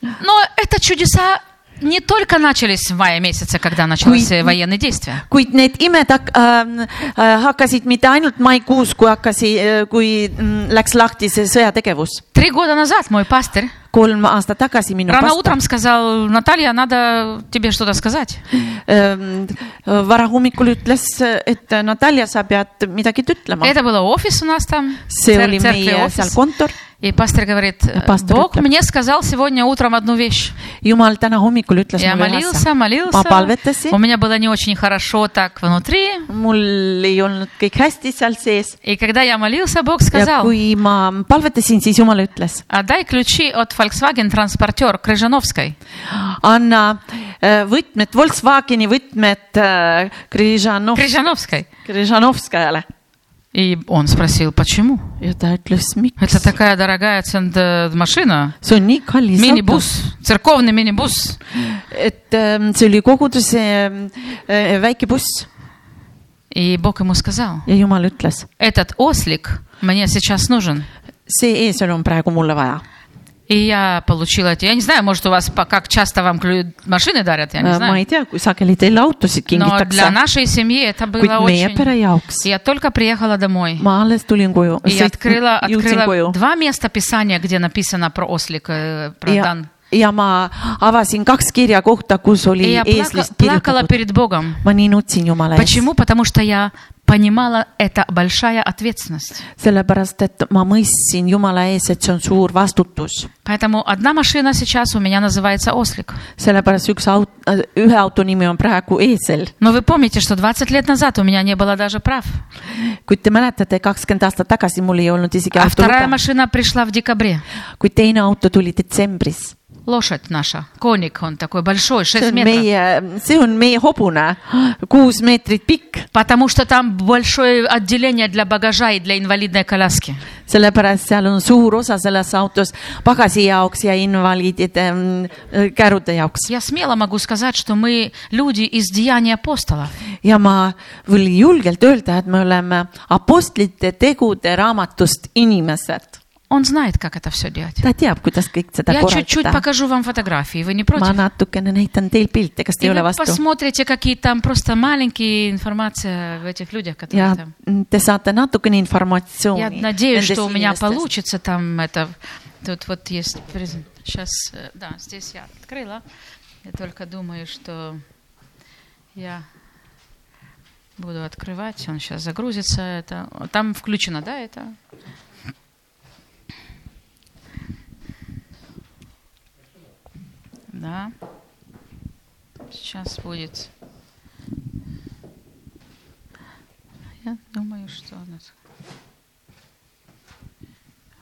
Но это чудеса не только начались в мае месяце, когда начались Ой. э, военные действия. kuid need imed hak- äh, äh, hakkasid mitte ainult maikuus , kui hakkasid äh, , kui mm, läks lahti see sõjategevus . Три года назад мой пастырь kolm aastat tagasi minu рано pastor утром сказал, Наталья, надо тебе что-то сказать. ähm, varahommikul ütles , et Natalja , sa pead midagi ütlema . Это было офис у нас там, see oli цер- церкви meie seal офис. kontor И пастор говорит, пастор Бог ütleb- мне сказал сегодня утром одну вещь. jumal täna hommikul ütles Я mulle ühe молился, asja . молился. ma palvetasin У , меня было не очень хорошо так внутри. mul ei olnud kõik hästi seal sees И когда я молился, Бог ja сказал, kui ma palvetasin , siis jumal ütles , отдай ключи от Volkswagen Transporter Крыжановской. anna äh, võtmed , Volkswageni võtmed äh, Križanov , Крыжановской. Križanovskajale И он спросил, почему? ja ta ütles , miks Это такая дорогая цен- э, машина. see on nii kallis auto , Минибус, церковный минибус. et ähm, see oli koguduse ähm, äh, väike buss И Бог ему сказал, ja jumal ütles , этот ослик мне сейчас нужен. see eesel on praegu mulle vaja . И я получила это. Я не знаю, может, у вас по- как часто вам клю- машины дарят, я не Äh, ma знаю. ei tea , kui sageli teil autosid Но для kingitakse , нашей семьи это было kuid meie pere очень... jaoks Я только приехала домой. ma alles tulin koju , И открыла, jõudsin koju открыла два места писания, где написано про ослик, э, про ja Дан. , ja ma avasin kaks kirja kohta , kus И oli я плака- eeslist плакала kirjutatud . перед Богом. ma nii nutsin Jumala ees , Почему? Потому что я понимала, это большая ответственность. sellepärast et ma mõistsin Jumala ees , et see on suur vastutus . Поэтому одна машина сейчас у меня называется «Ослик». sellepärast üks aut- , ühe auto nimi on praegu eesel , Но вы помните, что 20 лет назад у меня не было даже прав. kuid te mäletate , kakskümmend aastat tagasi mul ei olnud isegi А вторая autoluba , машина пришла в декабре. kuid teine auto tuli detsembris . Лошадь наша, коник он такой большой, see 6 on метров. meie , see on meie hobune , kuus meetrit pikk , Потому что там большое отделение для багажа и для инвалидной коляски. sellepärast seal on suur osa selles autos pagasi jaoks ja invaliidide mm, kärude jaoks . Я смело могу сказать, что мы люди из деяний апостолов. ja ma võin julgelt öelda , et me oleme apostlite tegude raamatust inimesed . Он знает, как это все делать. ta teab , kuidas kõik seda Я чуть-чуть korraldada . покажу вам фотографии, вы не ma против? natukene näitan teil pilte , kas te И ei вы ole vastu ? посмотрите, какие там просто маленькие информация в этих людях, которые ja там. te saate natukene Я informatsiooni . надеюсь, что у меня получится там это. Тут вот есть. Сейчас, да, здесь я открыла. Я только думаю, что я буду открывать. Он сейчас загрузится. Это там включено, да, это? Да. Сейчас будет. Я думаю, что у нас-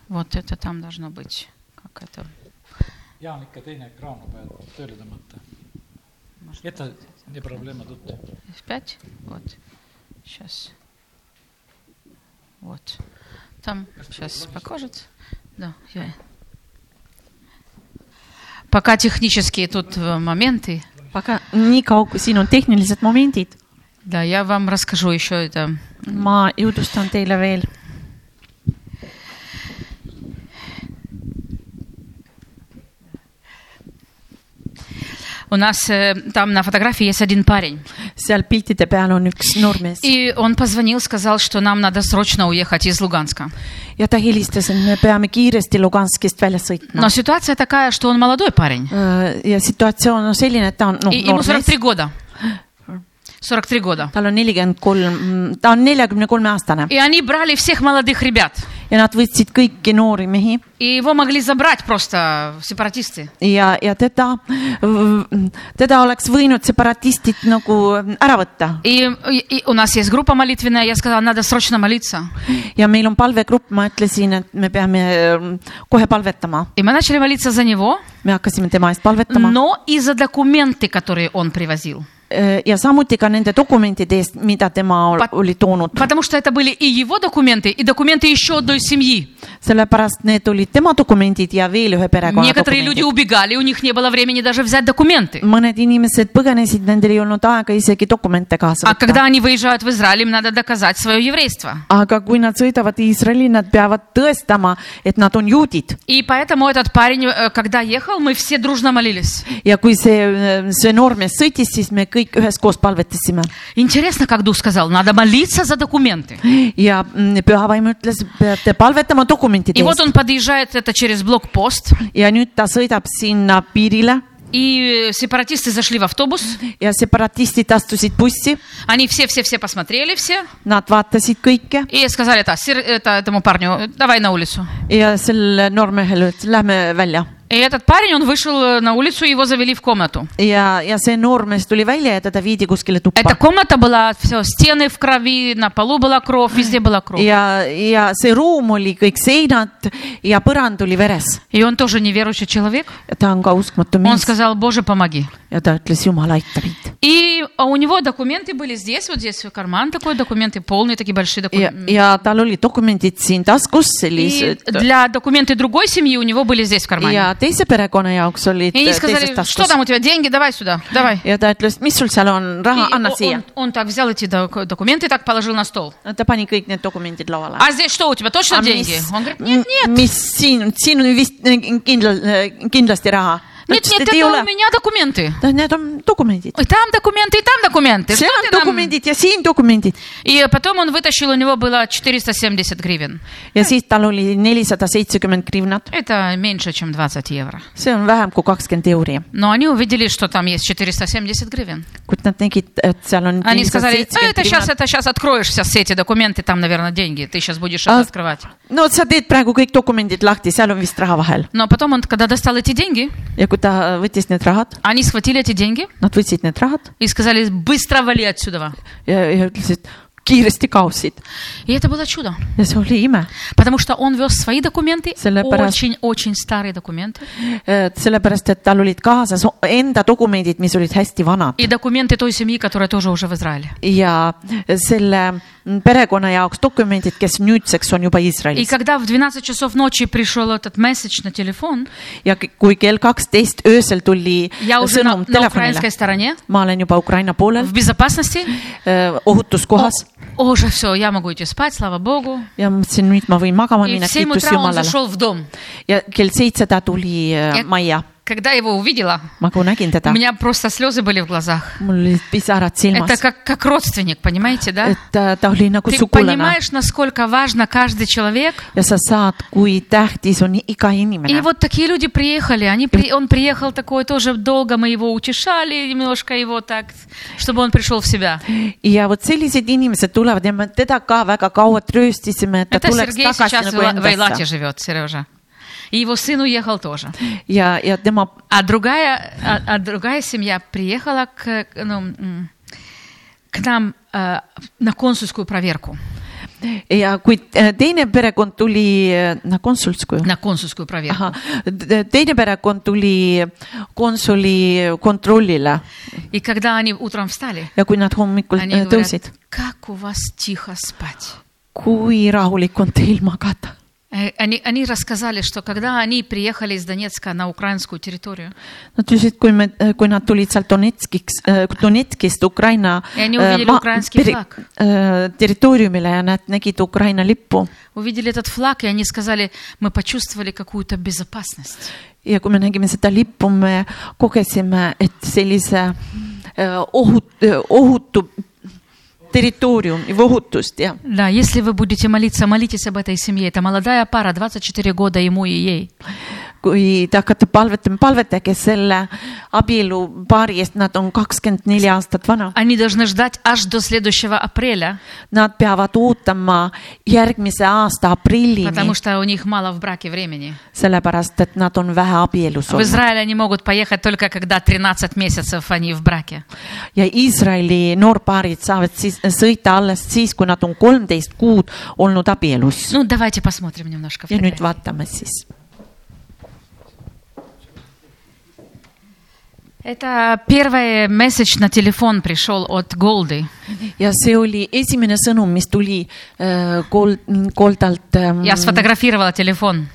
Вот это там должно быть. Как это? Jaan ikka teine ekraan on vaja tööle tõmmata . jäta nii probleeme tuttu . F5. Вот. Сейчас. Вот. Там сейчас покажет. Да, я- Пока технические тут э, моменты. aga niikaua , kui siin on tehnilised momendid , Да, я вам расскажу еще это. ma jutustan teile veel . У нас э, там на фотографии есть один парень. seal piltide peal on üks noormees И он позвонил, сказал, что нам надо срочно уехать из Луганска. ja ta helistas , et me peame kiiresti Luganskist välja sõitma Но . ситуация такая, что он молодой парень. ja situatsioon on selline , et ta on , noh , И ему noormees 43 года. 43 гоda. tal on nelikümmend kolm , ta on neljakümne kolme aastane И они брали всех молодых ребят. ja nad võtsid kõiki noori mehi И его могли забрать просто сепаратисты. ja , ja teda , teda oleks võinud separatistid nagu ära võtta И, и- и у нас есть группа молитвенная, я сказала, надо срочно молиться. ja meil on palvegrupp , ma ütlesin , et me peame mm, kohe palvetama , И мы начали молиться за него, me hakkasime tema eest palvetama но и за документы, которые он привозил. Äh, ja samuti ka nende dokumentide eest , mida tema ol- Pat- oli toonud , Потому что это были и его документы, и документы еще одной семьи. sellepärast need olid tema dokumendid ja veel ühe perekonna Некоторые люди dokumendid . убегали, у них не было времени даже взять документы. mõned inimesed põgenesid , nendel ei olnud aega isegi dokumente kaasa А võtta . когда они выезжают в Израиль, им надо доказать свое еврейство. aga kui nad sõidavad Iisraeli , nad peavad tõestama , et nad on juudid И поэтому этот парень, э, когда ехал, мы все дружно молились. ja kui see , see noormees sõitis , siis me kõik üheskoos palvetasime Интересно, как Дух сказал, надо молиться за документы. ja mm, püha vaim ütles , peate palvetama dokumentide И вот eest он подъезжает это через блокпост, ja nüüd ta sõidab sinna piirile и И сепаратисты зашли в автобус. ja separatistid astusid bussi , Они все-все-все посмотрели все. nad vaatasid kõike И сказали это, сер- это, этому парню, давай на улицу. ja sel noormehel ütles , lähme välja . И этот парень, он вышел э, на улицу, его завели в комнату. ja , ja see noormees tuli välja ja teda viidi kuskile Эта tuppa . комната была, все, стены в крови, на полу была кровь, везде была кровь. ja , ja see ruum oli kõik seinad ja põrand oli veres . И он тоже неверующий человек. ta on ka uskmatu Он mees сказал, Боже, помоги. ja ta ütles , Jumal , aita mind . И а у него документы были здесь, вот здесь карман такой, документы полные, такие большие ja , документы. ja tal oli dokumendid siin taskus И sellised для документы другой семьи у него были здесь в кармане. ja teise perekonna jaoks olid И они teises сказали, что taskus там у тебя, деньги, давай сюда, давай. ja ta ütles , mis sul seal on , И raha anna он, siia он- . он так взял эти док- документы, так положил на стол. ta pani kõik need dokumendid lauale . А здесь что у тебя, точно деньги? Он говорит, нет, нет, mis siin , siin on vist kindlal , kindlasti raha . нет, нет, это у меня документы. noh, Need on dokumendid . И там документы, и там документы. Что seal on ты нам- dokumendid ja siin dokumendid И потом он вытащил, у него было 470 гривен. ja siis tal oli nelisada seitsekümmend krivnat , Это меньше, чем 20 евро. see on vähem kui kakskümmend euri , Но они увидели, что там есть 470 гривен. kuid nad nägid , et seal on Они сказали, «Э, это сейчас, 470 это сейчас откроешься все эти документы, там, наверное, деньги, ты сейчас будешь А- это открывать. krivnat. no sa teed praegu kõik dokumendid lahti , seal on vist raha vahel Но потом он, когда достал эти деньги, ja kui ta võttis need rahad , они схватили эти деньги nad võtsid need rahad и сказали, быстро вали отсюда. ja, ja ütlesid kiiresti kaosid И это было чудо, ja see oli ime , потому что он вез свои документы, Selle pärast- очень-очень старые документы, et Äh, sellepärast et tal olid kaasas o- enda dokumendid , mis olid hästi vanad и документы той семьи, которая тоже уже в Израиле. ja selle perekonna jaoks dokumendid , kes nüüdseks on juba И Iisraelis когда в 12 часов ночи пришел этот месседж на телефон, ja k- kui kell kaksteist öösel tuli äh, я уже на, sõnum на украинской telefonile , стороне, ma olen juba Ukraina poolel в безопасности, öö, ohutuskohas О, уже все, я могу идти спать, слава Богу. ja mõtlesin , nüüd ma võin magama И minna , в 7 kiitus утра он Jumalale . зашел в дом. ja kell seitse ta tuli öö, Ja- majja , Когда его увидела, ma kui nägin у teda , меня просто слезы были в глазах. mul olid pisarad Это silmas , как, как родственник, понимаете, да? et äh, ta oli nagu Ты sugulane понимаешь, насколько важно каждый человек? ja sa saad , kui tähtis on iga И inimene . вот такие люди приехали. Они при- Он приехал такой тоже долго, мы его утешали, немножко его так, чтобы он пришел в себя. ja vot sellised inimesed tulevad ja me teda ka väga kaua trööstisime , et ta Это tuleks Сергей tagasi сейчас в nagu Ила- в Эйлате endasse живет, Сережа. И его сын уехал тоже. ja , ja tema А другая, а, а другая семья приехала к, к, ну, м, к нам э, на консульскую проверку. ja kui äh, teine perekond tuli , no konsultskuju . На консульскую проверку. teine perekond tuli konsuli kontrollile И когда они утром встали, ja kui nad hommikul они äh, tõusid говорят, , как у вас тихо спать. kui rahulik on teil magada . Э, Они, они рассказали, что когда они приехали из Донецка на украинскую территорию, Nad ütlesid , kui me , kui nad tulid sealt Donetskiks , Donetskist Ukraina Ja nii äh, uvideli ma- ukrainski teri- flag. äh, territooriumile ja nad nägid Ukraina lippu увидели этот флаг, и они сказали, мы почувствовали какую-то безопасность. ja kui me nägime seda lippu , me kogesime , et sellise äh, ohut- , ohutu territooriumi või ohutust ja , Да, если вы будете молиться, молитесь об этой семье. Это молодая пара, 24 года ему и ей. kui te hakkate palvetama , palvetage selle abielu paari eest , nad on kakskümmend neli aastat vana . Они должны ждать аж до следующего апреля, Nad peavad ootama järgmise aasta aprillini потому , что у них мало в браке времени. sellepärast et nad on vähe abielus В olnud Израиль они могут поехать только когда 13 месяцев они в браке. ja Iisraeli noorpaarid saavad siis sõita alles siis , kui nad on kolmteist kuud olnud abielus . Ну, давайте посмотрим немножко. ja nüüd фотографии. vaatame siis Это первый месседж на телефон пришел от Голды. ja see oli esimene sõnum , mis tuli äh, kol- , koldalt . Я сфотографировала телефон.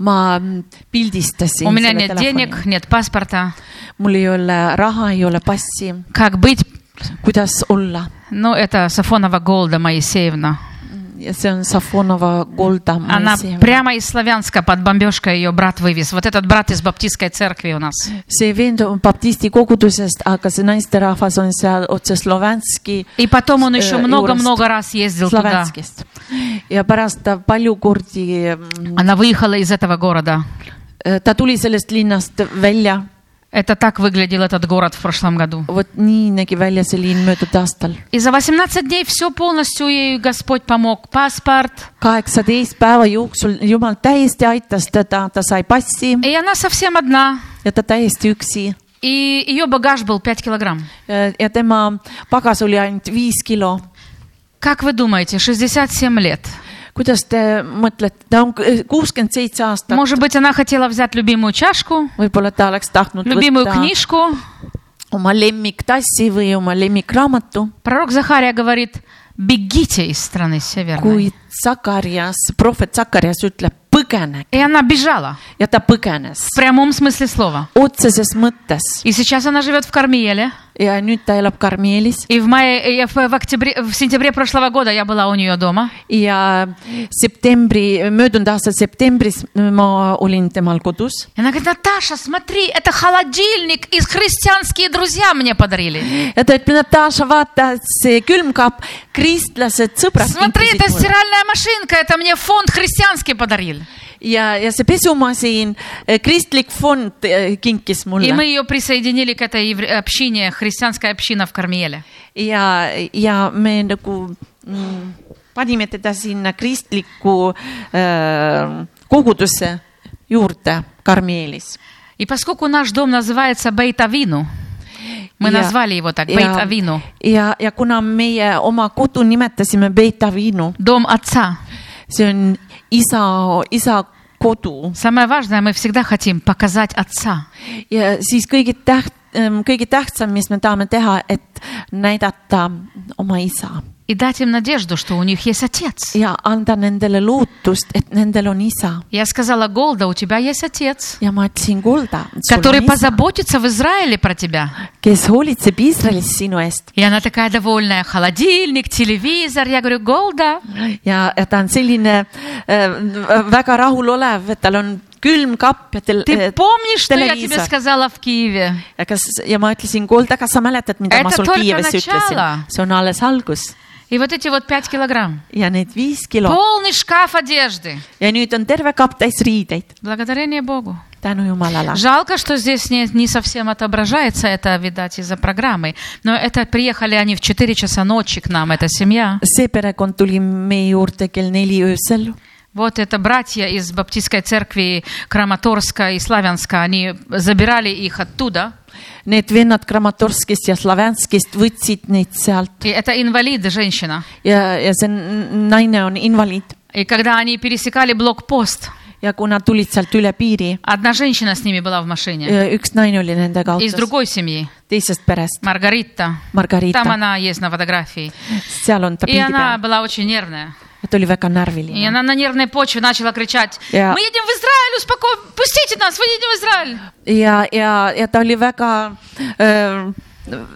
ma У pildistasin меня нет денег, нет паспорта. mul ei ole raha , ei ole passi , Как быть? kuidas olla Ну, это Сафонова Голда Моисеевна. ja see on Safonova Golda . Она прямо из Славянска под бомбежкой ее брат вывез. Вот этот брат из баптистской церкви у нас. see vend on baptisti kogudusest , aga see naisterahvas on seal otse Slovanski . И потом он еще Э, много-много Юрст. раз ездил туда. Slovanskist ja pärast ta palju äh, kordi , Она выехала из этого города. ta tuli sellest linnast välja Э, Это так выглядел этот город в прошлом году. vot nii nägi välja see linn möödunud aastal . И за 18 дней все полностью ей Господь помог. Паспорт. kaheksateist päeva jooksul Jumal täiesti aitas teda , ta sai passi И она совсем одна. ja ta täiesti üksi . И ее багаж был 5 килограмм. ja tema pagas oli ainult viis kilo . Как вы думаете, 67 лет? kuidas te mõtlete , ta on kuuskümmend seitse aastat , Может быть, она хотела взять любимую чашку, võib-olla ta oleks tahtnud любимую võtta книжку. oma lemmiktassi või oma lemmikraamatu , Пророк Захария говорит, бегите из страны северной. kuid Sakarias , prohvet Sakarias ütleb põgene И она бежала ja ta põgenes в прямом смысле слова. otseses mõttes И сейчас она живет в Кармиеле. ja nüüd ta elab Karmielis И в мае, э, в, в октябре, в сентябре прошлого года я была у нее дома. ja septembri , möödunud aasta septembris ma olin temal kodus И она говорит, Наташа, смотри, это холодильник, и христианские друзья мне подарили. ja ta ütleb , Natasha , vaata see külmkapp , kristlased , sõbrad . Смотри, это стиральная машинка, это мне фонд христианский подарил. ja , ja see pesumasin , kristlik fond eh, kinkis И мы mulle ее присоединили к этой евре- общине, христианская община в Кармиеле. ja , ja me nagu mm, panime teda sinna kristliku äh, koguduse juurde Karmeelis . И поскольку наш дом называется Бейтавину, мы назвали его так, ja Бейтавину, , ja, ja kuna meie oma kodu nimetasime Beitavinu , дом отца. see on isa , isa kodu Самое важное, мы всегда хотим показать отца. ja siis kõige täht- , kõige tähtsam , mis me tahame teha , et näidata oma isa И дать им надежду, что у них есть отец. ja anda nendele lootust , et nendel on isa Я сказала, Голда, у тебя есть отец, ja ma ütlesin , kuulda , который позаботится в Израиле про тебя. kes hoolitseb Iisraelis sinu eest И она такая довольная, холодильник, телевизор. Я говорю, Голда, ja , ja ta on selline äh, väga rahulolev , et tal on külmkapp ja tel- äh, ты помнишь, что я тебе televiisor. сказала в Киеве? ja kas ja ma ütlesin , kuulda , kas sa mäletad , mida ma Это sul только Kiievis ütlesin начало. ? see on alles algus И вот эти вот пять килограмм. ja need viis kilo Полный шкаф одежды. ja nüüd on terve kapp täis riideid , Благодарение Богу. tänu jumalale . Жалко, что здесь не, не совсем отображается это, видать, из-за программы. Но это приехали они в 4 часа ночи к нам, эта семья. see perekond tuli meie juurde kell neli öösel Вот это братья из Баптистской церкви Краматорска и Славянска. Они забирали их оттуда. Need vennad Kramatorskist ja Slavenskist võtsid neid sealt И это инвалиды, женщина. ja , ja see n- naine on invaliid И когда они пересекали блокпост, ja kuna tulid sealt üle piiri , одна женщина с ними была в машине. üks naine oli nendega Из autos , другой семьи, teisest perest , Маргарита. Там Margarita , она есть на фотографии. seal on ta И pildi она peal была очень нервная. ja ta oli väga И närviline она на нервной почве начала кричать: Я- "Мы едем в Израиль, успокой, пустите нас, мы едем в Израиль". ja , ja , ja ta oli väga öö,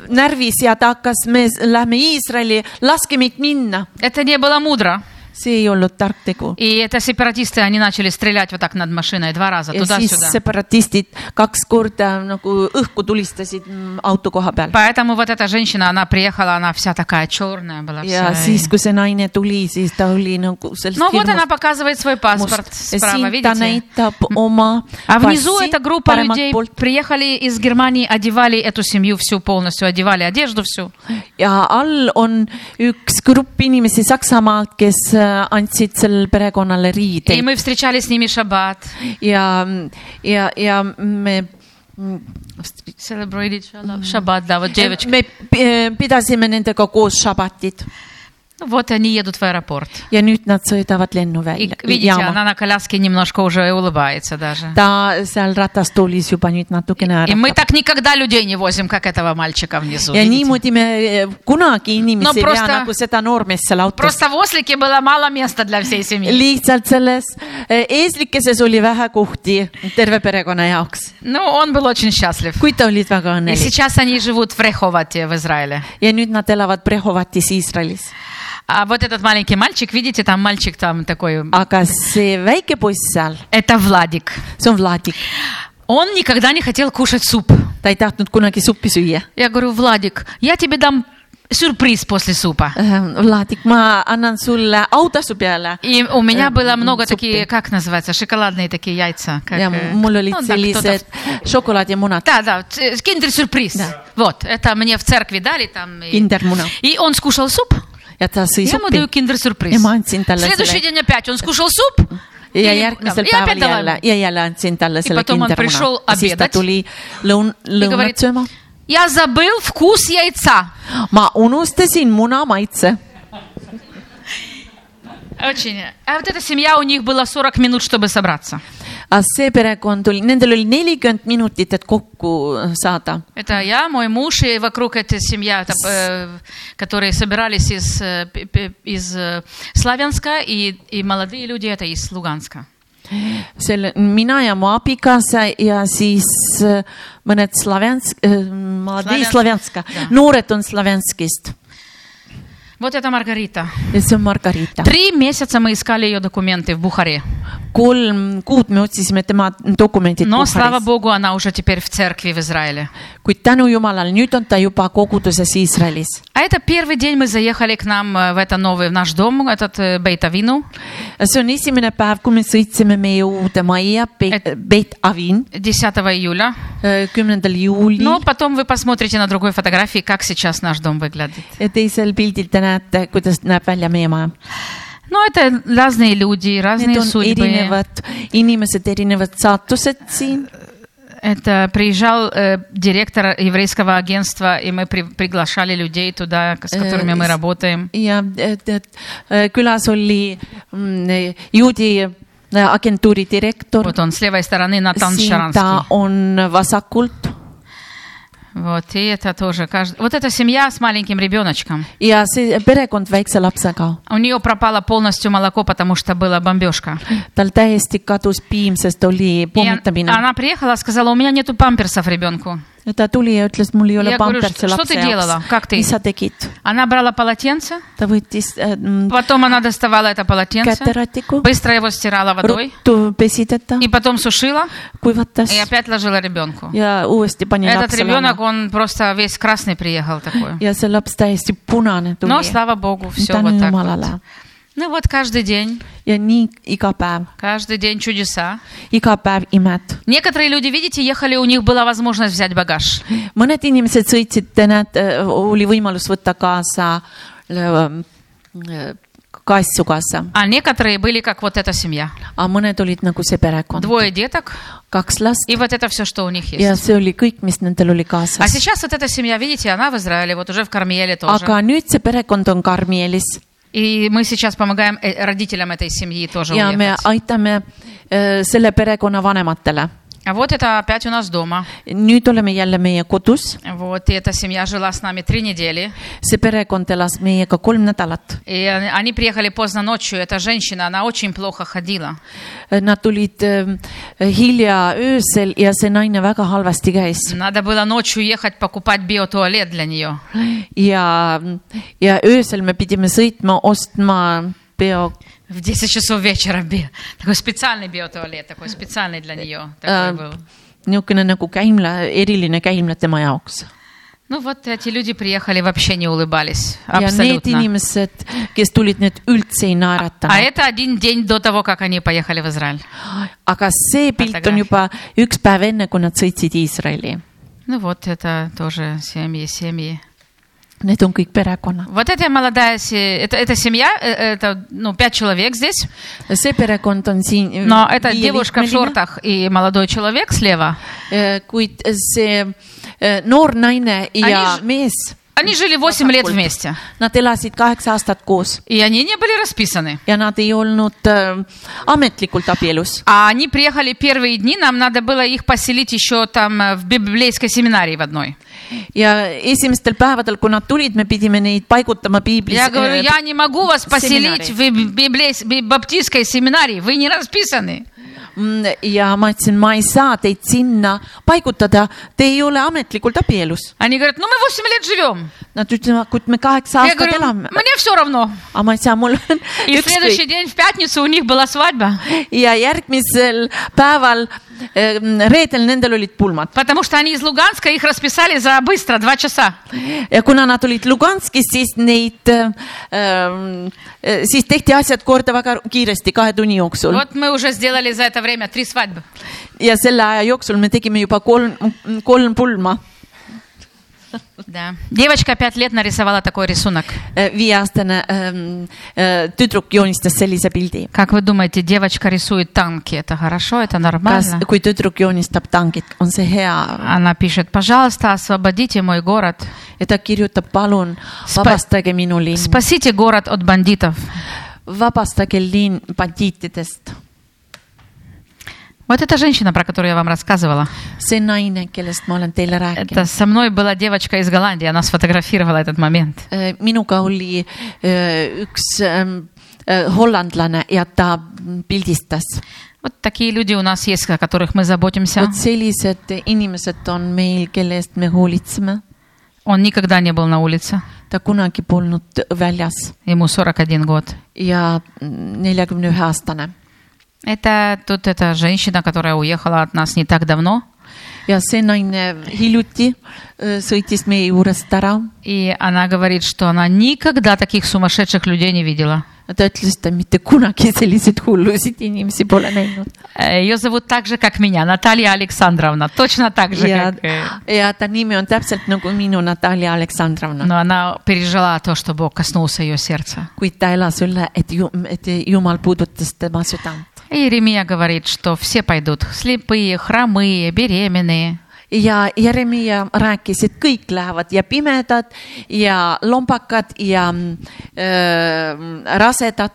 närvis ja ta hakkas , me s- lähme Iisraeli , laske meid minna . Это не было мудро. see ei olnud tark tegu . И это сепаратисты, они начали стрелять вот так над машиной два раза ja siis туда-сюда. separatistid kaks korda nagu õhku tulistasid mm, auto koha peal . Поэтому вот эта женщина, она приехала, она вся такая черная была. ja Вся. siis , kui see naine tuli , siis ta oli nagu sellest Ну вот она hirmust показывает свой паспорт must. ja справа, siin ta видите? näitab oma А внизу passi эта группа paremalt людей poolt приехали из Германии, одевали эту семью всю полностью, одевали одежду всю. ja all on üks grupp inimesi Saksamaalt , kes äh, andsid sellele perekonnale И riideid мы встречались с ними шаббат. ja , ja , ja me , Celebrated шаббат, да, Э, вот девочка. me p- pidasime nendega koos šabatit Ну, Вот они едут в аэропорт. ja nüüd nad sõidavad lennu И, välja , видите, jaama . она на коляске немножко уже улыбается даже. ta seal ratastoolis juba nüüd natukene И мы ära . так никогда людей не возим, как этого мальчика внизу. ja видите? niimoodi me äh, kunagi No inimesi ei vea prosta- nagu seda noormeest seal autos . Просто в Ослике было мало места для всей семьи. lihtsalt selles eh, eeslikeses oli vähe kohti terve perekonna jaoks , Ну, он был очень счастлив. kuid ta olid väga И õnnelik сейчас они живут в Реховате в Израиле. ja nüüd nad elavad Brehovatis Iisraelis . А вот этот маленький мальчик, видите, там мальчик там такой... aga see väike poiss seal , Это Владик. see on Vladik , Он никогда не хотел кушать суп. ta ei tahtnud kunagi suppi süüa . Я говорю, Владик, я тебе дам сюрприз после супа. Владик, Äh, ma annan sulle autasu peale И у меня Э, было много супы. такие, как называется, шоколадные такие яйца. как, ja э, mul olid ну, да, кто-то sellised šokolaadimunad , Да, да, киндер сюрприз. Вот, это мне в церкви дали там. и- kindermuna И он скушал суп, ja ta sõi я ему suppi даю киндер сюрприз. ja ma andsin talle Следующий selle день опять он скушал суп. ja и- järgmisel да, и опять päeval дала jälle ему. ja jälle andsin talle selle потом он пришел kindermuna , siis ta обедать tuli lõun- , И говорит, lõunat sööma . я забыл вкус яйца. ma unustasin muna maitse Очень. А вот эта семья, у них было 40 minut, чтобы собраться. aga Ah, see perekond oli , nendel oli nelikümmend minutit , et kokku saada . Это я, мой муж и вокруг эта семья, это, э, которые собирались из, э, п- п- из э, Славянска, и, и молодые люди это из Луганска. selle , mina ja mu abikaasa ja siis äh, mõned Slavjansk , ma ei tea , Slavjansk- Slavjanska , jah. noored on Slavjanskist Вот это Маргарита. ja see on Margarita . Три месяца мы искали ее документы в Бухаре. kolm kuud me otsisime tema dokumendid Но, слава Bukarestis , Богу, она уже теперь в церкви в Израиле. kuid tänu jumalale , nüüd on ta juba koguduses Iisraelis . А это первый день мы заехали к нам э, в это новый, в наш дом, этот э, Бейтавину. see on esimene päev , kui me sõitsime meie uude majja Beit , Et- Beit Avin äh, 10 июля. kümnendal juulil Но потом вы посмотрите на другой фотографии, как сейчас наш дом выглядит. ja teisel pildil te näete , kuidas näeb välja meie maja Ну, это разные люди, Need разные on судьбы. erinevad inimesed , erinevad saatused siin . Это приезжал э, директор еврейского агентства, и мы при- приглашали людей туда, к- с Э, которыми мы из- работаем. ja et, et, äh, külas oli mm, juudi äh, agentuuri direktor Вот . он с левой стороны, Натан siin Шаранский. ta on vasakult Вот, и это тоже каждый... Вот эта семья с маленьким ребеночком. ja see perekond väikse lapsega , У нее пропало полностью молоко, потому что была бомбежка. tal täiesti kadus piim , sest oli И он- pommitamine . она приехала, сказала, у меня нету памперсов ребенку. ta tuli ja ütles , mul ei ole Ja говорю, pampersi "Что lapse ты делала? Как jaoks ты?" . mis sa tegid ? Она брала полотенце, ta võttis äh, m, потом она доставала это полотенце, käteratiku , быстро его стирала водой, ruttu pesi teda и , потом сушила, kuivatas и опять ложила ребенку. ja uuesti pani Этот lapsele alla ребенок, он просто весь красный приехал такой. ja see laps täiesti punane tuli Но, слава богу, все tänu вот так jumalale вот. Ну вот каждый день, ja nii iga päev , каждый день чудеса. iga päev imed . Некоторые люди, видите, ехали, у них была возможность взять багаж. mõned inimesed sõitsid , näed , oli võimalus võtta kaasa äh, äh, ka asju kaasa , А некоторые были, как вот эта семья. aga mõned olid nagu see perekond , Двое деток, kaks last и вот это все, что у них есть. ja see oli kõik , mis nendel А oli kaasas . сейчас вот эта семья, видите, она в Израиле, вот уже в Кармиеле тоже. aga nüüd see perekond on Karmielis И мы сейчас помогаем э, родителям этой семьи тоже ja me уехать. aitame äh, selle perekonna vanematele . А вот это опять у нас дома. nüüd oleme jälle meie kodus , Вот, и эта семья жила с нами три недели. see perekond elas meiega kolm nädalat И они они приехали поздно ночью. Эта женщина, она очень плохо ходила. Äh, Nad tulid ähm, hilja öösel ja see naine väga halvasti käis Надо было ночью ехать покупать биотуалет для нее. ja , ja öösel me pidime sõitma ostma peo В 10 часов вечера. би- Такой специальный биотуалет, такой специальный для нее. Такой Э. был. niisugune nagu käimla , eriline käimla tema jaoks . Ну вот эти люди приехали, вообще не улыбались. ja need Абсолютно. inimesed , kes tulid nüüd üldse ei А naeratanud , это один день до того, как они поехали в Израиль. aga see pilt on Fotograafi- juba üks päev enne , kui nad sõitsid Iisraeli . Ну вот это тоже семьи, семьи. Need on kõik perekonnad . Вот эта молодая, се- это, это семья, э, это ну, пять человек здесь, see perekond on siin . но это девушка в шортах и молодой человек слева. Äh, kuid see eh, noor naine ja Они ж- mees Они жили 8 лет вместе, Nad elasid kaheksa aastat koos и они не были расписаны. ja nad ei olnud äh, ametlikult abielus . А они приехали первые дни, нам надо было их поселить еще там э, в библейской семинарии в одной. ja esimestel päevadel , kui nad tulid , me pidime neid paigutama piiblis äh, Я говорю, я не могу вас поселить э, семинарии. в биб- библейс- би- баптистской семинарии, вы не расписаны. mm, ja ma ütlesin , ma ei saa teid sinna paigutada , te ei ole ametlikult abielus . Они говорят, ну мы 8 лет живем. Nad ütlesid , kuid me Я kaheksa aastat говорю, elame , мне все равно. aga ma ei saa , mul on э, И в следующий ükskõik . день, в пятницу, у них была свадьба. ja järgmisel päeval äh, reedel nendel olid pulmad Потому что они из Луганска, их расписали за быстро, два часа. ja kuna nad olid Luganskis , siis neid ähm, , siis tehti asjad korda väga kiiresti kahe tunni jooksul Вот мы уже сделали за это время три свадьбы. ja selle aja jooksul me tegime juba kolm , kolm pulma . Да. Девочка пять лет нарисовала такой рисунок. Äh, viieaastane ähm, äh, tüdruk joonistas sellise pildi . Как вы думаете, девочка рисует танки? Это хорошо, это kas нормально? , kui tüdruk joonistab tangit , on see hea Она пишет, пожалуйста, освободите мой город. ja ta kirjutab , palun vabastage minu linn , Спасите город от бандитов. vabastage linn bandiitidest . Вот эта женщина, про которую я вам рассказывала, see naine , kellest ma olen teile rääkinud это . со мной была девочка из Голландии, она сфотографировала этот момент. Äh, minuga oli äh, üks ähm, äh, hollandlane ja ta pildistas . Вот такие люди у нас есть, о которых мы заботимся. vot sellised inimesed on meil , kelle eest me hoolitseme . Он никогда не был на улице, ta kunagi polnud väljas ему 41 год. ja neljakümne ühe aastane Это тут эта женщина, которая уехала от нас не так давно, ja see naine hiljuti äh, sõitis meie juurest ära . и она говорит, что она никогда таких сумасшедших людей не видела. ta ütles , et ta mitte kunagi selliseid hullusid inimesi pole näinud . Ее Э, зовут так же, как меня, Наталья Александровна. Точно так же, ja как... э, , ja ta nimi on täpselt nagu minu Natalja Aleksandrovna . Но она пережила то, что Бог коснулся ее сердца. kuid ta elas üle , et ju- , et Jumal puudutas tema südant И Иеремия говорит, что все пойдут. Слепые, хромые, беременные. ja Jeremiah rääkis , et kõik lähevad ja pimedad ja lombakad ja äh, rasedad .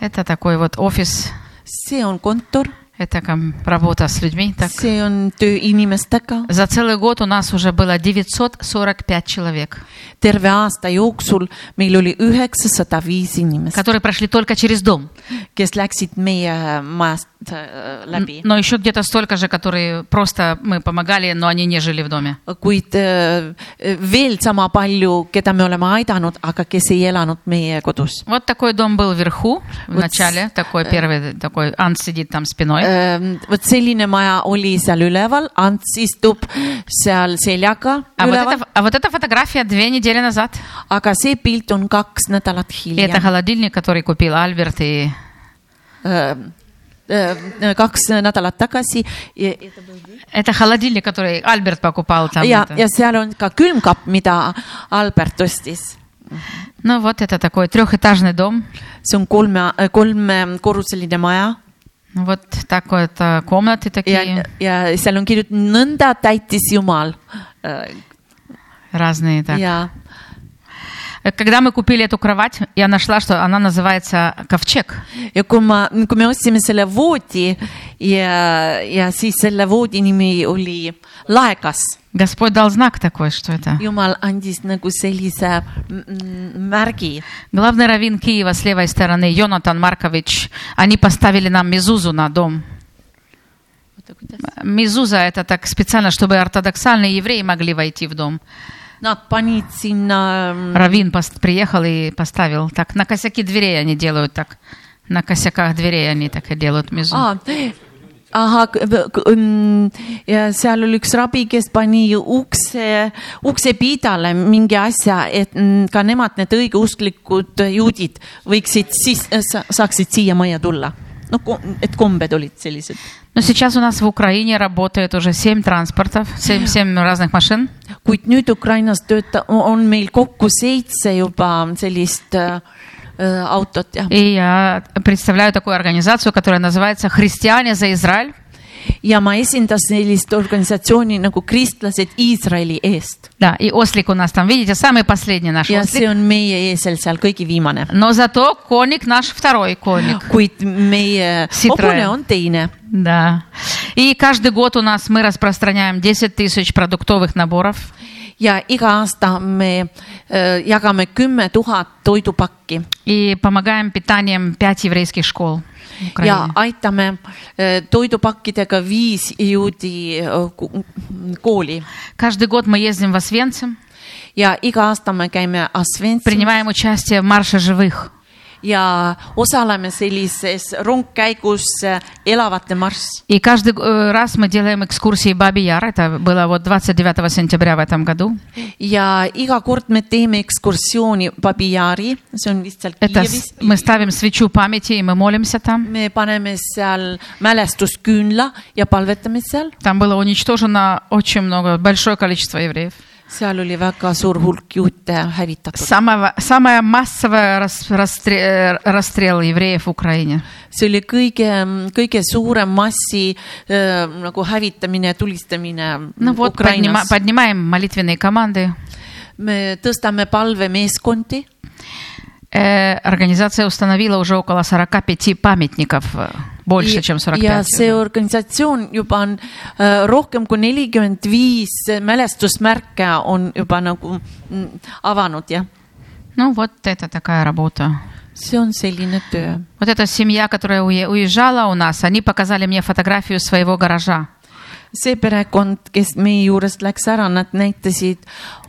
Это такой вот офис, see on kontor , это ком- работа с людьми. Так. see on töö inimestega . За целый год у нас уже было 945 человек, terve aasta jooksul meil oli üheksasada viis inimest , которые прошли только через дом. kes läksid meie majast äh, läbi . Но еще где-то столько же, которые просто мы помогали, но они не жили в доме. kuid äh, veel sama palju , keda me oleme aidanud , aga kes ei elanud meie kodus . Вот такой дом был вверху в Вот с- э, начале, такой первый, такой Ан сидит там спиной. Ähm, vot selline maja oli seal üleval , Ants istub seal seljaga А вот, üleval , эта, а вот эта фотография две недели назад. aga see pilt on kaks nädalat И это hiljem . холодильник, который купил Альберт. И Äh, kaks nädalat tagasi ja, это холодильник, который Альберт покупал там. ja , это. ja seal on ka külmkapp , mida Albert ostis . Ну вот это такой трехэтажный дом. see on kolme , kolmekorruseline maja Вот так вот э, комнаты ja такие , ja seal on kirjutatud nõnda täitis Jumal . э, разные. Так. ja Когда мы купили эту кровать, я нашла, что она называется ковчег. ja kui ma , kui me ostsime selle voodi ja , ja siis selle voodi nimi oli laekas . Господь дал знак такой, что это. jumal andis nagu sellise m- m- märgi . Главный раввин Киева с левой стороны, Йонатан Маркович, они поставили нам мизузу на дом. Мизуза это так специально, чтобы ортодоксальные евреи могли войти в дом. Nad panid sinna mm, Равин пос- приехал и поставил так. На косяки дверей они делают так. На косяках дверей они так и делают мизу. aa, ahah , ja seal oli üks rabi , kes pani ukse , uksepiidale mingi asja , et mm, ka nemad , need õigeusklikud juudid võiksid siis , saaksid siia majja tulla . no ko- et kombed olid sellised Но сейчас у нас в Украине работает уже 7 транспортов, 7, разных машин. kuid nüüd Ukrainas tööta- , on meil kokku seitse juba sellist äh, äh, autot ja , И я представляю такую организацию, которая называется «Христиане за Израиль». ja ma esindan sellist organisatsiooni nagu Kristlased Iisraeli eest Да, и ослик у нас там, видите, самый последний наш ja ослик. see on meie eesel seal kõige viimane , Но зато коник наш второй коник. kuid meie Citroen. hobune on teine Да. И каждый год у нас мы распространяем 10 тысяч продуктовых наборов. ja iga aasta me äh, jagame kümme tuhat toidupakki И помогаем питанием 5 еврейских школ ja Украины. aitame äh, toidupakkidega viis juudi äh, ku- kooli Каждый год мы ездим в Освенцим, ja iga aasta me käime Asventsi принимаем участие в марше живых. ja osaleme sellises rongkäigus äh, elavate marss . И каждый э, раз мы делаем экскурсии Баби Яр. Это было вот 29 сентября в этом году. ja iga kord me teeme ekskursiooni Babijari , see on lihtsalt Это с- Kiievis . мы ставим свечу памяти и мы молимся там. me paneme seal mälestusküünla ja palvetame seal , Там было уничтожено очень много, большое количество евреев. seal oli väga suur hulk juute hävitatud . Самое, самое массовое рас- расстре- э, расстрел евреев в Украине. see oli kõige , kõige suurem massi äh, nagu hävitamine , tulistamine Ну вот, поднима- Ukrainas . поднимаем молитвенные команды. me tõstame palvemeeskondi Э, Организация установила уже около 45 памятников, э, больше, чем ja 45. see organisatsioon juba on äh, rohkem kui nelikümmend viis mälestusmärke on juba nagu mm, avanud ja Ну вот это такая работа. see on selline töö . Вот эта семья, которая уе- уезжала у нас, они показали мне фотографию своего гаража. see perekond , kes meie juurest läks ära , nad näitasid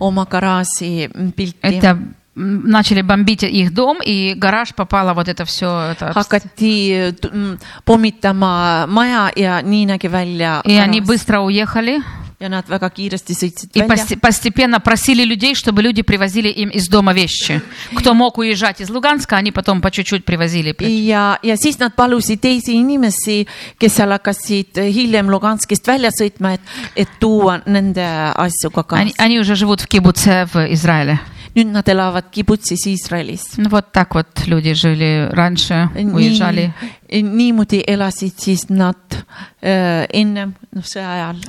oma garaaži mm, pilti . Это м, начали бомбить их дом, и гараж попало вот это все. Это... обс- hakati äh, t- mm, pommitama maja ja nii nägi välja . И они быстро уехали ja nad väga kiiresti sõitsid и välja посте- постепенно просили людей, чтобы люди привозили им из дома вещи. Кто мог уезжать из Луганска, они потом по чуть-чуть привозили. ja , ja siis nad palusid teisi inimesi , kes seal hakkasid hiljem Luganskist välja sõitma , et , et tuua nende asju ka Они, kaasa . они уже живут в кибуце в Израиле. nüüd nad elavad kibutsis Iisraelis . Ну, вот так вот люди жили раньше, уезжали. eh, niimoodi elasid siis nad äh, ennem noh , sõja ajal .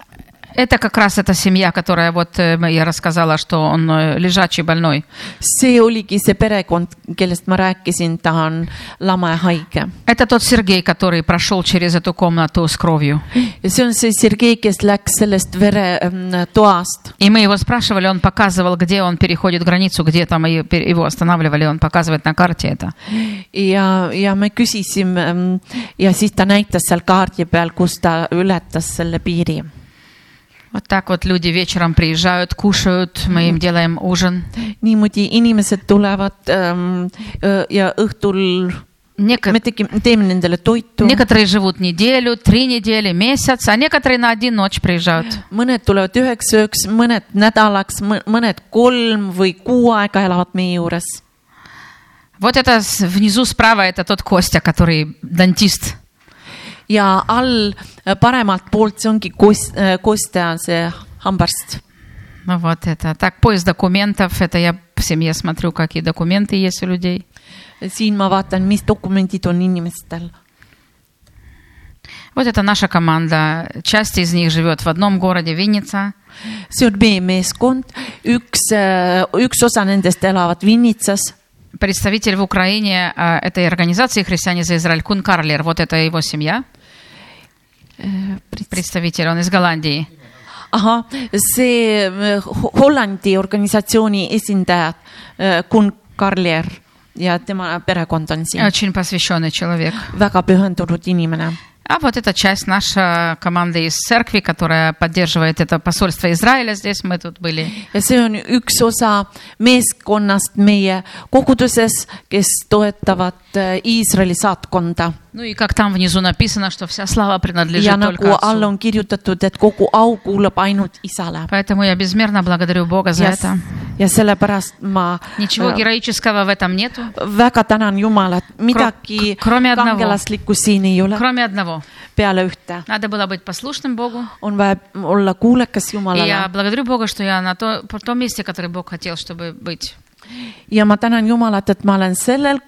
Это как раз эта семья, которая вот э, я рассказала, что он э, лежачий больной. see oligi see perekond , kellest ma rääkisin , ta on lama ja haige . Это тот Сергей, который прошел через эту комнату с кровью. ja see on see Sergei , kes läks sellest vere ähm, toast И мы его спрашивали, он показывал, где он переходит границу, где там и пер- его останавливали, он показывает на карте это. ja , ja me küsisime ähm, ja siis ta näitas seal kaardi peal , kus ta ületas selle piiri . Вот так вот люди вечером приезжают, кушают, мы им делаем ужин. niimoodi inimesed tulevad ähm, ö- ja õhtul Неко- me tegime , teeme nendele toitu . Некоторые живут неделю, три недели, месяц, а некоторые на один ночь приезжают. mõned tulevad üheks ööks , mõned nädalaks , mõned kolm või kuu aega elavad meie juures . Вот это с- внизу справа, это тот Костя, который дантист. ja all äh, paremalt poolt , see ongi kost- , kostja , see hambaarst Ну вот это. Так, поиск документов, это я в семье смотрю, какие документы есть у людей. siin ma vaatan , mis dokumendid on inimestel Вот это наша команда. Часть из них живет в одном городе Винница, see on meie meeskond , üks , üks osa nendest elavad Vinnitsas представитель в Украине э, этой организации «Христиане за Израиль» Кун Карлер, вот это его семья, представитель, он из Голландии. ahah , see äh, Ho- Hollandi organisatsiooni esindaja äh, Kun Karlier ja tema perekond on siin . Очень посвященный человек. väga pühendunud inimene . А вот эта часть наша команда из церкви, которая поддерживает это посольство Израиля здесь, мы тут были. ja see on üks osa meeskonnast meie koguduses , kes toetavad äh, Iisraeli saatkonda . Ну и как там внизу написано, что вся слава принадлежит ja только nagu all Отцу. on kirjutatud , et kogu au kuulub ainult isale . Поэтому я безмерно благодарю Бога за ja, это. ja sellepärast ma Ничего äh, героического в этом нету, väga tänan Jumalat , Kro- midagi kromi adnavo. kangelaslikku siin ei ole , кроме одного. peale ühte . Надо было быть послушным Богу. on vaja olla И kuulekas я Jumalale благодарю Бога, что я на то, по том месте, которое Бог хотел, чтобы быть. ja ma tänan Jumalat , et ma olen sellel ,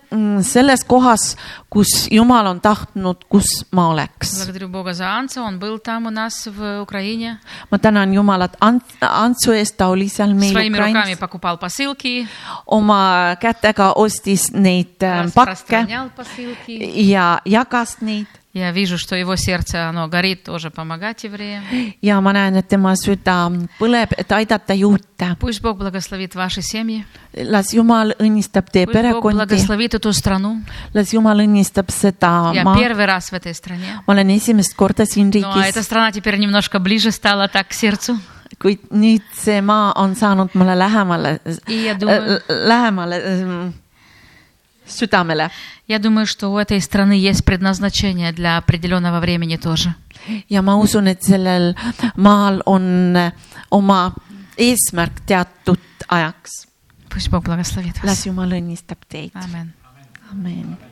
selles kohas , kus Jumal on tahtnud , kus ma oleks . Благодарю Бога за Анца, он был там у нас в Украине. ma tänan Jumalat Ant- , Antsu eest , ta oli seal meil Своими руками Ukrainas , покупал посылки, oma kätega ostis neid äh, pakke распространял посылки. ja jagas neid Я вижу, что его сердце, оно горит тоже помогать евреям. ja ma näen , et tema süda põleb , et aidata juute . Пусть Бог благословит ваши семьи. las Jumal õnnistab teie Пусть Бог perekondi благословит эту страну. las Jumal õnnistab seda Я ma , первый раз в этой стране. ma olen esimest korda siin Ну, а эта riigis , страна теперь немножко ближе стала так к сердцу. kuid nüüd see maa on saanud mulle äh, lähemale Ja , tule- lähemale . südamele Я думаю, что у этой страны есть предназначение для определенного времени тоже. ja ma usun , et sellel maal on äh, oma eesmärk teatud ajaks . Пусть Бог благословит вас. las Jumal õnnistab teid . Аминь. amin .